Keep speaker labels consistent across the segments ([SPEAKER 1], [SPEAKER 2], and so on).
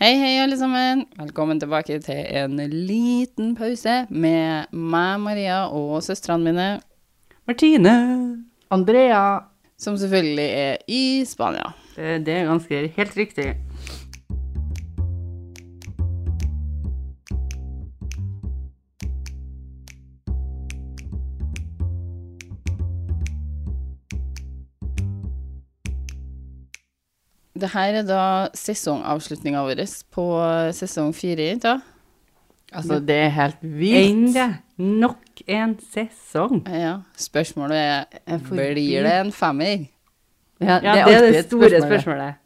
[SPEAKER 1] Hei, hei, alle sammen. Velkommen tilbake til en liten pause med meg, Maria, og søstrene mine,
[SPEAKER 2] Martine!
[SPEAKER 3] Andrea.
[SPEAKER 1] som selvfølgelig er i Spania.
[SPEAKER 2] Det, det er ganske helt riktig.
[SPEAKER 1] Dette er da sesongavslutninga vår på sesong fire, jenter.
[SPEAKER 3] Altså, det er helt vilt.
[SPEAKER 2] Enda nok en sesong.
[SPEAKER 1] Ja. Spørsmålet er
[SPEAKER 3] forbi-
[SPEAKER 1] blir det en femmer?
[SPEAKER 3] Ja,
[SPEAKER 2] Ja, det er det,
[SPEAKER 3] alltid et
[SPEAKER 2] store
[SPEAKER 3] spørsmål, det.
[SPEAKER 2] spørsmålet.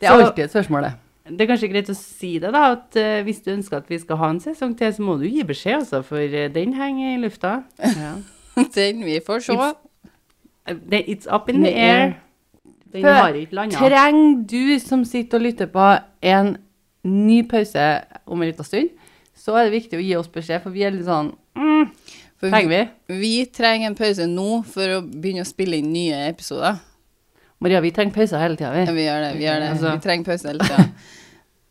[SPEAKER 3] Det er
[SPEAKER 2] Så-
[SPEAKER 1] Sånn
[SPEAKER 3] alltid et spørsmål, det.
[SPEAKER 2] Det er kanskje greit å si det, da, at eh, hvis du ønsker at vi skal ha en sesong til, så må du gi beskjed, altså, for eh, den henger i lufta.
[SPEAKER 1] Den vi får se.
[SPEAKER 2] It's- Eh, det- It's up in the
[SPEAKER 3] Det er-
[SPEAKER 2] air. Den
[SPEAKER 3] Før-
[SPEAKER 2] har ikke landa.
[SPEAKER 3] Trenger du som sitter og lytter på en ny pause om en liten stund, så er det viktig å gi oss beskjed, for vi er litt sånn mm,
[SPEAKER 1] For
[SPEAKER 3] Trenger
[SPEAKER 1] vi,
[SPEAKER 3] vi?
[SPEAKER 1] vi trenger en pause nå for å begynne å spille inn nye episoder.
[SPEAKER 3] Maria, vi trenger pauser hele tida,
[SPEAKER 1] Ja,
[SPEAKER 3] vi.
[SPEAKER 1] vi gjør det. Vi, gjør det.
[SPEAKER 3] Altså-
[SPEAKER 1] vi trenger pause hele tida.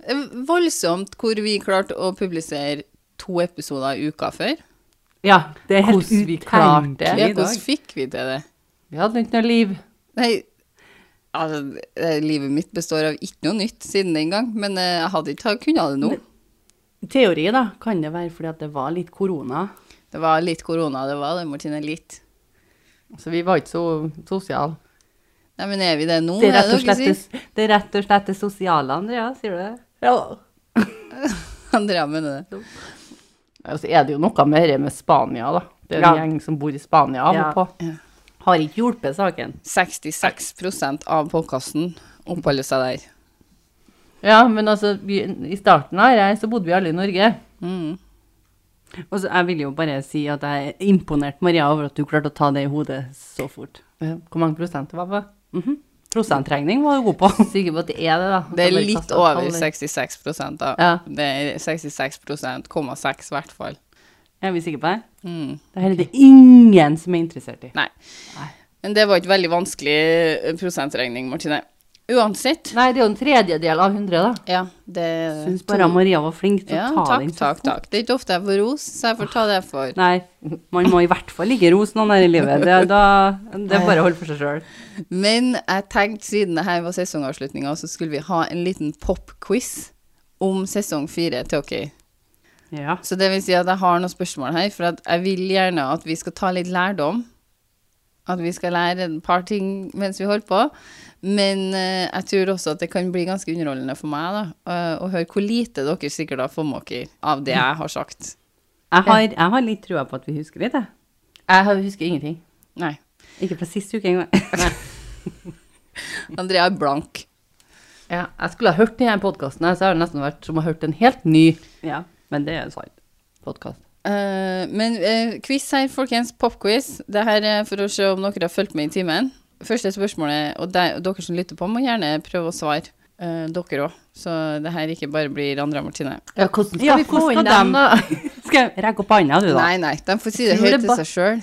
[SPEAKER 1] Eh, Voldsomt hvor vi klarte å publisere to episoder i uka før.
[SPEAKER 2] Ja, det er helt
[SPEAKER 3] Hvordan vi klarte det.
[SPEAKER 1] Ja,
[SPEAKER 2] utenkelig i
[SPEAKER 1] hvordan
[SPEAKER 2] dag.
[SPEAKER 1] fikk vi til det?
[SPEAKER 3] Vi hadde ikke noe liv.
[SPEAKER 1] Nei, altså, eh, livet mitt består av ikke noe nytt siden den gang, men eh, jeg hadde ikke kunnet det nå.
[SPEAKER 2] Teori, da, kan det være fordi at det var litt korona.
[SPEAKER 1] Det var litt korona, det var det, Martine, litt.
[SPEAKER 3] Så vi var ikke så sosiale.
[SPEAKER 1] Nei, men er vi det nå?
[SPEAKER 2] Det er
[SPEAKER 1] er
[SPEAKER 2] rett og
[SPEAKER 1] dere
[SPEAKER 2] slett
[SPEAKER 1] sier?
[SPEAKER 2] det, det, er rett og slett det sosiale, Andrea, sier du det?
[SPEAKER 1] Andrea mener det.
[SPEAKER 3] Og så er det jo noe mer med Spania, da. Det er en
[SPEAKER 2] Ja.
[SPEAKER 3] gjeng som bor i Spania av
[SPEAKER 2] Ja.
[SPEAKER 3] og på.
[SPEAKER 2] Har ikke hjulpet saken.
[SPEAKER 1] 66 av podkasten oppholder seg der.
[SPEAKER 3] Ja, men altså, vi, i starten her jeg, så bodde vi alle i Norge.
[SPEAKER 1] Mm.
[SPEAKER 2] Og så, jeg vil jo bare si at jeg er imponert, Maria, over at du klarte å ta det i hodet så fort.
[SPEAKER 3] Ja, Eh, Hvor mange prosent det var på?
[SPEAKER 2] Mhm. Prosentregning var du god på.
[SPEAKER 3] Sikker på at det er det, da.
[SPEAKER 1] Det er
[SPEAKER 3] Så bare
[SPEAKER 1] litt
[SPEAKER 3] kastet
[SPEAKER 1] over
[SPEAKER 3] tall der.
[SPEAKER 1] 66 da.
[SPEAKER 3] Ja.
[SPEAKER 1] Det er 66,6 i hvert fall.
[SPEAKER 2] Er vi sikre på det?
[SPEAKER 1] Mm.
[SPEAKER 2] Det her er det ingen som er interessert i.
[SPEAKER 1] Nei. Men det var ikke veldig vanskelig eh, prosentregning, Martine. Uansett.
[SPEAKER 3] Nei, det er jo en tredjedel av 100, da.
[SPEAKER 1] Ja, det
[SPEAKER 2] Jeg Syns bare Maria var flink til
[SPEAKER 1] Ja,
[SPEAKER 2] å ta
[SPEAKER 1] takk,
[SPEAKER 2] den. så
[SPEAKER 1] takk,
[SPEAKER 2] fort.
[SPEAKER 1] takk. Det er ikke ofte jeg får ros, så jeg får ta det for.
[SPEAKER 2] Nei, man må i hvert fall ikke rose noen her i livet. Det, er da, det er bare å holde for seg sjøl.
[SPEAKER 1] Men jeg tenkte siden det her var sesongavslutninga, så skulle vi ha en liten popquiz om sesong fire til dere.
[SPEAKER 2] Ja.
[SPEAKER 1] Så det vil si at jeg har noen spørsmål her, for at jeg vil gjerne at vi skal ta litt lærdom. At vi skal lære et par ting mens vi holder på. Men eh, jeg tror også at det kan bli ganske underholdende for meg da, eh, å høre hvor lite dere sikkert har fått med dere av det jeg har sagt.
[SPEAKER 2] Jeg har, jeg har litt trua på at vi husker litt, jeg.
[SPEAKER 3] Jeg husker ingenting.
[SPEAKER 1] Nei.
[SPEAKER 2] Ikke fra sist uke engang.
[SPEAKER 1] Andrea er blank.
[SPEAKER 3] Ja, jeg skulle ha hørt denne podkasten, så har det nesten vært som å ha hørt en helt ny
[SPEAKER 2] ja, men det er sant.
[SPEAKER 3] podkast.
[SPEAKER 1] Eh, men eh, quiz her, folkens. Popquiz. Det her er for å se om dere har fulgt med i timen. Første spørsmålet, og de, og dere som lytter på, må gjerne prøve å svare. eh, dere òg, så det her ikke bare blir Andrea og Martine.
[SPEAKER 3] Ja, hvordan skal
[SPEAKER 2] Ja,
[SPEAKER 3] vi få
[SPEAKER 2] hvordan
[SPEAKER 3] inn
[SPEAKER 2] skal
[SPEAKER 3] dem, da?
[SPEAKER 2] Skal jeg rekke opp hånda, du, da?
[SPEAKER 1] Nei, nei, de får si det
[SPEAKER 3] Jeg tror
[SPEAKER 1] høyt
[SPEAKER 3] det
[SPEAKER 1] til
[SPEAKER 3] ba-
[SPEAKER 1] seg sjøl.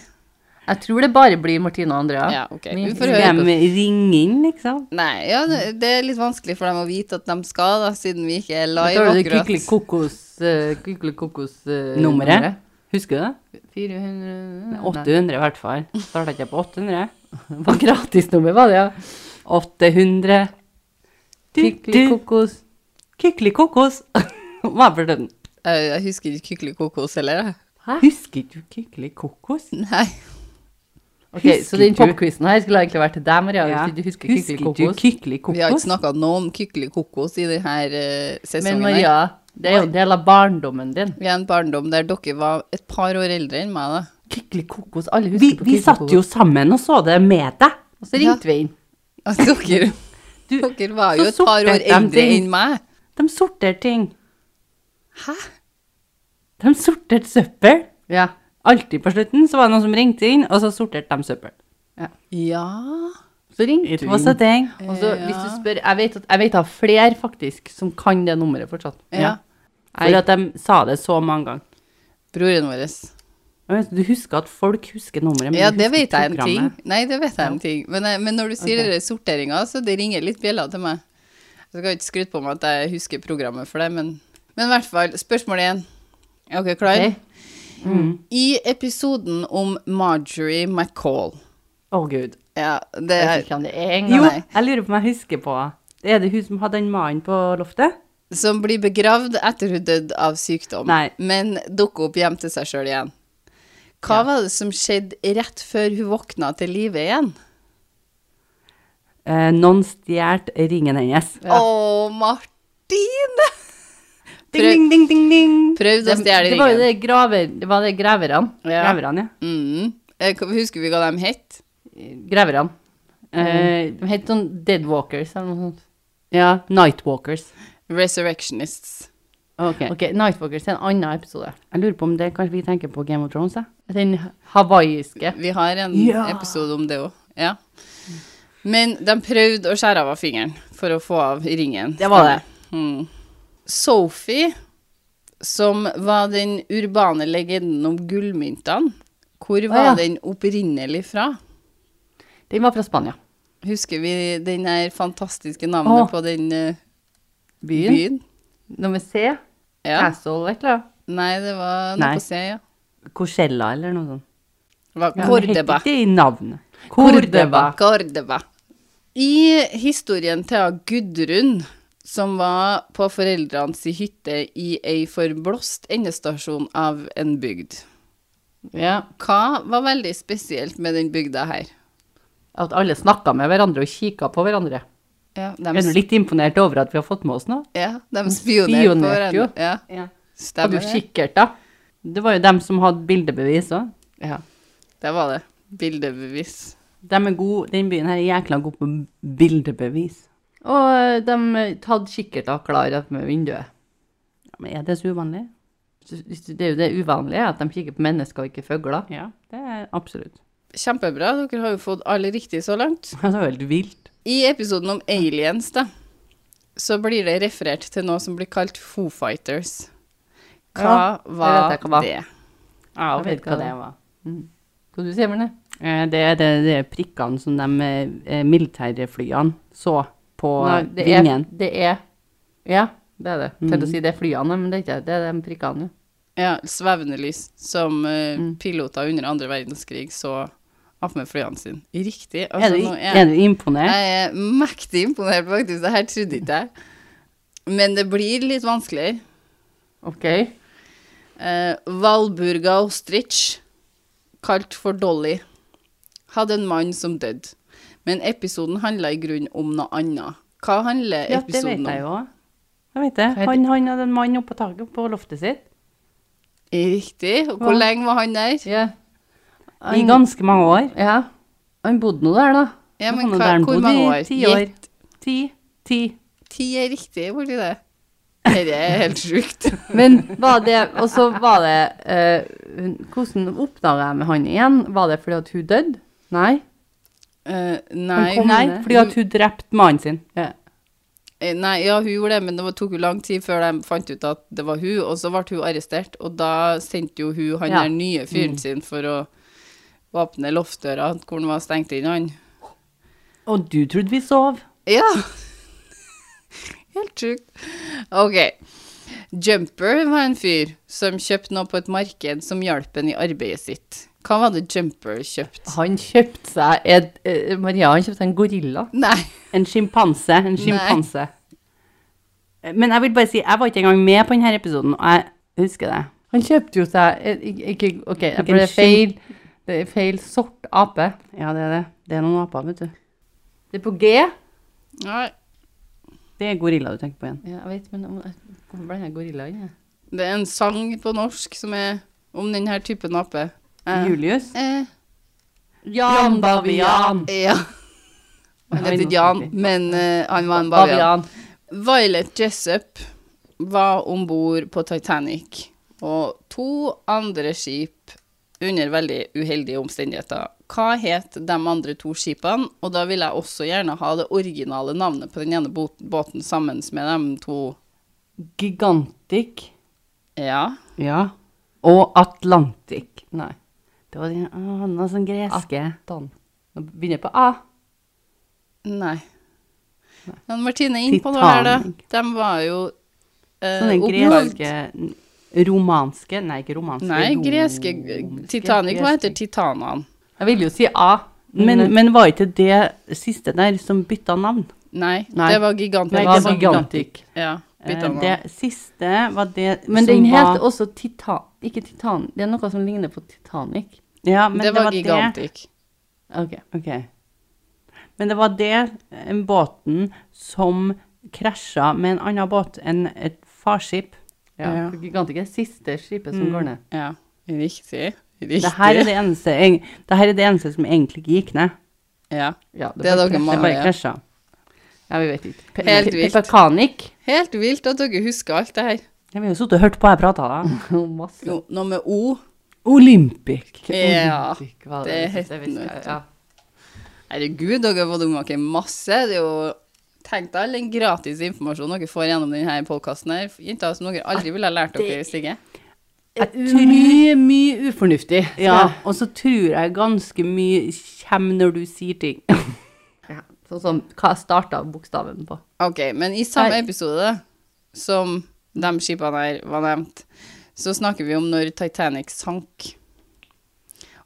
[SPEAKER 3] Jeg tror det bare blir Martine og Andrea.
[SPEAKER 1] Ja, ok.
[SPEAKER 3] Vi-
[SPEAKER 1] Vi får høre.
[SPEAKER 2] Skal de ringe inn, liksom?
[SPEAKER 1] Nei, ja, det, det er litt vanskelig for dem å vite at de skal, da, siden vi ikke er
[SPEAKER 3] Da
[SPEAKER 1] live
[SPEAKER 3] tar du det
[SPEAKER 1] akkurat.
[SPEAKER 3] eh, kykeli-kokos-nummeret.
[SPEAKER 2] Nummeret? Husker du det?
[SPEAKER 3] 400
[SPEAKER 2] 800 i hvert fall. Starta ikke jeg på 800?
[SPEAKER 3] Det var gratisnummer, var det, ja.
[SPEAKER 2] 800
[SPEAKER 3] Kykelikokos.
[SPEAKER 2] Kyklikokos. Hva er for den?
[SPEAKER 1] Eh, Jeg husker ikke Kykeli kokos heller, jeg.
[SPEAKER 2] Husker du kyklikokos?
[SPEAKER 1] Nei.
[SPEAKER 3] Ok, så den
[SPEAKER 2] Husker du-
[SPEAKER 3] popquizen her skulle egentlig vært til deg, Maria,
[SPEAKER 2] Ja.
[SPEAKER 3] hvis du husker
[SPEAKER 2] Husker du
[SPEAKER 1] Vi
[SPEAKER 3] kykelikokos.
[SPEAKER 1] har ikke
[SPEAKER 2] kyklikokos?
[SPEAKER 1] snakka noe om Kykeli kokos i denne eh,
[SPEAKER 3] Men
[SPEAKER 1] sesongen. her.
[SPEAKER 3] Maria, det er jo en del av barndommen din.
[SPEAKER 1] Vi er en barndom der dere var et par år eldre enn meg, da.
[SPEAKER 3] Kykelikokos, alle husker
[SPEAKER 2] Vi,
[SPEAKER 3] på
[SPEAKER 2] vi satt jo sammen og så det med deg.
[SPEAKER 3] Og så ringte vi inn.
[SPEAKER 1] At dere,
[SPEAKER 2] Du,
[SPEAKER 1] dere var
[SPEAKER 2] så
[SPEAKER 1] jo et par år
[SPEAKER 2] sorterte de
[SPEAKER 1] eldre
[SPEAKER 2] ting.
[SPEAKER 1] enn meg.
[SPEAKER 2] De sorterte ting.
[SPEAKER 1] Hæ?
[SPEAKER 2] De sorterte søppel.
[SPEAKER 3] Ja.
[SPEAKER 2] Alltid på slutten så var det noen som ringte inn, og så sorterte de søppel.
[SPEAKER 1] Ja
[SPEAKER 3] Så ringte
[SPEAKER 2] It
[SPEAKER 3] du
[SPEAKER 2] was a
[SPEAKER 3] inn.
[SPEAKER 2] thing.
[SPEAKER 3] Og så hvis du
[SPEAKER 1] Ja.
[SPEAKER 3] spør, jeg vet at jeg vet av flere faktisk som kan det nummeret fortsatt.
[SPEAKER 1] Ja.
[SPEAKER 2] For at de sa det så mange ganger.
[SPEAKER 1] Broren vår.
[SPEAKER 2] Jeg vet, Du husker at folk husker nummeret, men
[SPEAKER 1] Ja,
[SPEAKER 2] du
[SPEAKER 1] det
[SPEAKER 2] husker
[SPEAKER 1] vet jeg en ting.
[SPEAKER 2] programmet.
[SPEAKER 1] Nei, det vet jeg en ting. Men, eh, men når du sier
[SPEAKER 2] Ok.
[SPEAKER 1] okay. sorteringa, så det ringer litt bjeller til meg. Så jeg kan ikke skryte på meg at jeg husker programmet for det, men, men i hvert fall, spørsmål én. Er dere klare?
[SPEAKER 3] Ok.
[SPEAKER 2] Mm.
[SPEAKER 1] I episoden om Marjorie McCall
[SPEAKER 2] Å, gud.
[SPEAKER 1] Ja, det
[SPEAKER 3] Jeg
[SPEAKER 1] er
[SPEAKER 3] vet ikke om det er en
[SPEAKER 2] Jo,
[SPEAKER 3] gang.
[SPEAKER 1] nei.
[SPEAKER 2] jeg lurer på om jeg husker på Er det hun som hadde den mannen på loftet?
[SPEAKER 1] Som blir begravd etter hun døde av sykdom,
[SPEAKER 2] Nei.
[SPEAKER 1] men dukker opp hjem til seg sjøl igjen. Hva var det som skjedde rett før hun våkna til live igjen?
[SPEAKER 2] Eh, noen stjal ringen hennes.
[SPEAKER 1] Å, Martine!
[SPEAKER 2] Ding, ding, ding, ding, ding.
[SPEAKER 1] Prøvde å stjele
[SPEAKER 3] Det var
[SPEAKER 1] ringen.
[SPEAKER 3] jo det graver... Det var det greverne.
[SPEAKER 1] Ja.
[SPEAKER 2] Greverne,
[SPEAKER 1] Mm. Eh, hva- Husker vi hva de het?
[SPEAKER 3] Greverne. Eh, de het sånn Deadwalkers eller noe sånt.
[SPEAKER 2] ja. ja. Nightwalkers.
[SPEAKER 1] Resurrectionists.
[SPEAKER 2] Ok.
[SPEAKER 3] Ok, Nightwalkers er en annen episode.
[SPEAKER 2] Jeg lurer på om det kanskje vi tenker på Game of Thrones, jeg.
[SPEAKER 3] Den hawaiiske.
[SPEAKER 1] Vi har en
[SPEAKER 2] Ja.
[SPEAKER 1] episode om det òg. Ja. Men de prøvde å skjære av av fingeren for å få av ringen.
[SPEAKER 3] Det var det.
[SPEAKER 1] Mm. Sophie, som var den urbane legenden om gullmyntene, hvor var
[SPEAKER 3] ja.
[SPEAKER 1] den opprinnelig fra?
[SPEAKER 3] Den var fra Spania.
[SPEAKER 1] Husker vi den her fantastiske navnet
[SPEAKER 3] Å.
[SPEAKER 1] på den eh,
[SPEAKER 3] Byen.
[SPEAKER 1] byen?
[SPEAKER 3] Nummer C.
[SPEAKER 1] Ja.
[SPEAKER 3] Castle, vet du.
[SPEAKER 1] Nei, det var noe
[SPEAKER 2] Nei.
[SPEAKER 1] å se, ja.
[SPEAKER 2] Corsella eller noe sånt.
[SPEAKER 1] Det var
[SPEAKER 2] Ja, men
[SPEAKER 1] Cordoba.
[SPEAKER 2] Det er i navnet.
[SPEAKER 3] Cordoba.
[SPEAKER 1] Cordoba. I historien til Gudrun, som var på foreldrene si hytte i ei forblåst endestasjon av en bygd,
[SPEAKER 3] Ja.
[SPEAKER 1] hva var veldig spesielt med den bygda her?
[SPEAKER 3] At alle snakka med hverandre og kikka på hverandre.
[SPEAKER 1] Ja,
[SPEAKER 2] Jeg er
[SPEAKER 1] de,
[SPEAKER 2] nå litt imponert over at vi har fått med oss noe.
[SPEAKER 1] ja, de spionerte på
[SPEAKER 3] spionerte jo.
[SPEAKER 1] hverandre. Ja,
[SPEAKER 3] Hadde
[SPEAKER 1] stemmer
[SPEAKER 3] jo
[SPEAKER 1] det.
[SPEAKER 3] kikkert, da. Det var jo dem som hadde bildebevis òg.
[SPEAKER 1] Ja, det var det. Bildebevis.
[SPEAKER 2] De er gode, den byen her er jækla god på bildebevis.
[SPEAKER 3] Og eh, de hadde kikkerter klare med vinduet.
[SPEAKER 2] Ja, men er det så uvanlig?
[SPEAKER 3] Så Det er jo det uvanlige, at de kikker på mennesker og ikke fugler.
[SPEAKER 2] Ja, det er absolutt.
[SPEAKER 1] Kjempebra, dere har jo fått alle riktig så langt.
[SPEAKER 2] Det er jo helt vilt.
[SPEAKER 1] I episoden om aliens, da, så blir det referert til noe som blir kalt Foo Fighters. Hva var
[SPEAKER 3] vet jeg hva var.
[SPEAKER 1] det?
[SPEAKER 2] Ja,
[SPEAKER 3] jeg vet hva det
[SPEAKER 2] var.
[SPEAKER 3] Hva du sier du,
[SPEAKER 2] Eh, Det er de, de prikkene som de eh, militærflyene så på
[SPEAKER 3] det er,
[SPEAKER 2] vingen. Mm.
[SPEAKER 3] det er Ja, det er det. Til å si det er flyene, men det er ikke det. Det er de prikkene.
[SPEAKER 1] Ja, svevende lys, som eh,
[SPEAKER 3] Mm.
[SPEAKER 1] piloter under andre verdenskrig så av med flyene sine. Riktig. Altså,
[SPEAKER 2] Er du,
[SPEAKER 1] nå
[SPEAKER 2] er du imponert?
[SPEAKER 1] jeg er mektig imponert, faktisk. Det her trodde ikke jeg. Men det blir litt vanskeligere.
[SPEAKER 3] OK.
[SPEAKER 1] Eh, Valburga Ostrich, kalt for Dolly, hadde en mann som døde. Men episoden handla i grunnen om noe annet. Hva handler
[SPEAKER 2] Ja, det
[SPEAKER 1] episoden
[SPEAKER 2] vet
[SPEAKER 1] om?
[SPEAKER 2] jeg jo også. Jeg vet det.
[SPEAKER 3] heter-
[SPEAKER 2] Han, han hadde en mann oppe på taket på loftet sitt.
[SPEAKER 1] Riktig. Og hvor
[SPEAKER 2] Hva?
[SPEAKER 1] lenge var han der?
[SPEAKER 3] Ja.
[SPEAKER 2] I ganske mange år.
[SPEAKER 3] ja. Han bodde nå der, da.
[SPEAKER 1] Ja,
[SPEAKER 2] Nå
[SPEAKER 1] men
[SPEAKER 2] kan jo
[SPEAKER 1] hva,
[SPEAKER 2] der han
[SPEAKER 1] hvor
[SPEAKER 2] bodde
[SPEAKER 1] mange
[SPEAKER 2] i
[SPEAKER 1] år?
[SPEAKER 2] Ti år.
[SPEAKER 1] Gjett.
[SPEAKER 2] Ti. Ti.
[SPEAKER 1] Ti er riktig, borti det. Dette er helt sjukt.
[SPEAKER 3] Men var det Og så var det eh, hun- Hvordan oppdaga jeg med han igjen? Var det fordi at hun døde? Nei.
[SPEAKER 1] Eh,
[SPEAKER 2] Nei,
[SPEAKER 1] nei,
[SPEAKER 3] kom-
[SPEAKER 2] nei,
[SPEAKER 3] ned.
[SPEAKER 2] fordi at hun drepte mannen sin.
[SPEAKER 1] eh, nei, ja, hun gjorde det, men det var- tok jo lang tid før de fant ut at det var hun, og så ble hun arrestert, og da sendte jo hun han
[SPEAKER 3] Ja.
[SPEAKER 1] der nye fyren sin for å åpne loftdøra, hvor han var stengt inn, han.
[SPEAKER 2] Og du trodde vi sov.
[SPEAKER 1] Ja. Helt sjukt. Ok. Jumper var en fyr som kjøpte noe på et marked som hjalp ham i arbeidet sitt. Hva var det Jumper kjøpte?
[SPEAKER 3] Han kjøpte seg et, eh, Maria, han kjøpte seg en gorilla.
[SPEAKER 1] Nei.
[SPEAKER 2] En sjimpanse. En sjimpanse. Men jeg vil bare si, jeg var ikke engang med på denne episoden, og jeg husker det.
[SPEAKER 3] Han kjøpte jo seg eh, ikke, ikke, OK, jeg
[SPEAKER 2] Ikke en
[SPEAKER 3] ble feil. Det er feil sort ape.
[SPEAKER 2] Ja, det er det. Det er noen aper, vet du.
[SPEAKER 3] Det er på G.
[SPEAKER 1] Nei.
[SPEAKER 2] Det er gorilla du tenker på igjen.
[SPEAKER 3] Ja, jeg vet, men hvorfor ble jeg gorilla inn?
[SPEAKER 1] Det er en sang på norsk som er om denne typen ape. Eh,
[SPEAKER 2] Julius.
[SPEAKER 1] Eh,
[SPEAKER 3] Jan Bavian.
[SPEAKER 1] ja. Han heter Jan, men eh, han var en bavian.
[SPEAKER 3] Bavian.
[SPEAKER 1] Violet Jessup var om bord på Titanic, og to andre skip under veldig uheldige omstendigheter. Hva het de andre to skipene? Og da vil jeg også gjerne ha det originale navnet på den ene bo- båten sammen med de to.
[SPEAKER 2] Gigantic.
[SPEAKER 1] Ja.
[SPEAKER 2] Ja. Og Atlantic. Nei. Det var den, å, noe sånn greske.
[SPEAKER 3] Dan. Nå begynner jeg på A.
[SPEAKER 1] Nei. Men Martine, inn på noe her, da.
[SPEAKER 2] Titanic.
[SPEAKER 1] De var jo eh,
[SPEAKER 2] Sånne
[SPEAKER 1] oppkalt-
[SPEAKER 2] Sånn greske Romanske Nei, ikke romanske.
[SPEAKER 1] Nei,
[SPEAKER 2] rom-
[SPEAKER 1] greske Titanic var etter titanene.
[SPEAKER 3] Jeg ville jo si A.
[SPEAKER 2] Men, men var ikke det siste der som bytta navn?
[SPEAKER 1] Nei,
[SPEAKER 2] Nei.
[SPEAKER 1] det var giganten.
[SPEAKER 2] Nei,
[SPEAKER 3] det
[SPEAKER 2] det
[SPEAKER 3] var
[SPEAKER 2] var
[SPEAKER 3] gigantikk.
[SPEAKER 1] Ja,
[SPEAKER 2] Eh,
[SPEAKER 1] bytta navn.
[SPEAKER 2] Det siste var det
[SPEAKER 3] Men
[SPEAKER 2] som
[SPEAKER 3] den
[SPEAKER 2] var
[SPEAKER 3] het også Titan... Ikke Titan, det er noe som ligner på Titanic.
[SPEAKER 2] Ja, men
[SPEAKER 1] det var
[SPEAKER 2] det-
[SPEAKER 1] gigantic.
[SPEAKER 3] Ok.
[SPEAKER 2] Ok. Men det var det eh, båten som krasja med en annen båt enn et farskip.
[SPEAKER 3] Ja,
[SPEAKER 1] Ja.
[SPEAKER 3] for Gigantikk er det siste skipet som
[SPEAKER 2] Mm.
[SPEAKER 3] går ned.
[SPEAKER 1] Ja, riktig.
[SPEAKER 2] Det her er
[SPEAKER 1] Riktig.
[SPEAKER 2] det eneste, eng- det her er det eneste som egentlig ikke gikk ned.
[SPEAKER 1] Ja.
[SPEAKER 3] Ja,
[SPEAKER 1] Det er
[SPEAKER 3] var-
[SPEAKER 1] dere
[SPEAKER 2] Det bare
[SPEAKER 1] mangler.
[SPEAKER 2] krasja.
[SPEAKER 3] Ja, vi vet ikke. Pe
[SPEAKER 1] Helt
[SPEAKER 3] Pe-
[SPEAKER 1] vilt.
[SPEAKER 3] Pepperkanic.
[SPEAKER 1] Helt vilt at dere husker alt det her.
[SPEAKER 2] Ja, Vi har jo sittet og hørt på jeg prata, da.
[SPEAKER 3] Masse.
[SPEAKER 1] Jo, noe med O.
[SPEAKER 2] Olympic.
[SPEAKER 1] Ja.
[SPEAKER 3] Olympic var
[SPEAKER 1] det
[SPEAKER 3] siste
[SPEAKER 1] het
[SPEAKER 3] vi
[SPEAKER 1] den,
[SPEAKER 3] skal-
[SPEAKER 1] vet du.
[SPEAKER 3] ja.
[SPEAKER 1] Herregud, dere har fått unngått masse. Det er jo Tenk deg all den gratis informasjonen dere får gjennom denne podkasten her. Jenter som dere
[SPEAKER 2] Ah,
[SPEAKER 1] aldri ville ha lært dere, hvis ikke.
[SPEAKER 2] Jeg tror-
[SPEAKER 3] Mye, mye ufornuftig. skal
[SPEAKER 2] Ja,
[SPEAKER 3] jeg-
[SPEAKER 2] og så tror jeg ganske mye kommer når du sier ting.
[SPEAKER 3] Ja. Sånn som hva jeg starta bokstaven på.
[SPEAKER 1] Ok, men i samme
[SPEAKER 3] Nei.
[SPEAKER 1] episode som de skipene her var nevnt, så snakker vi om når Titanic sank.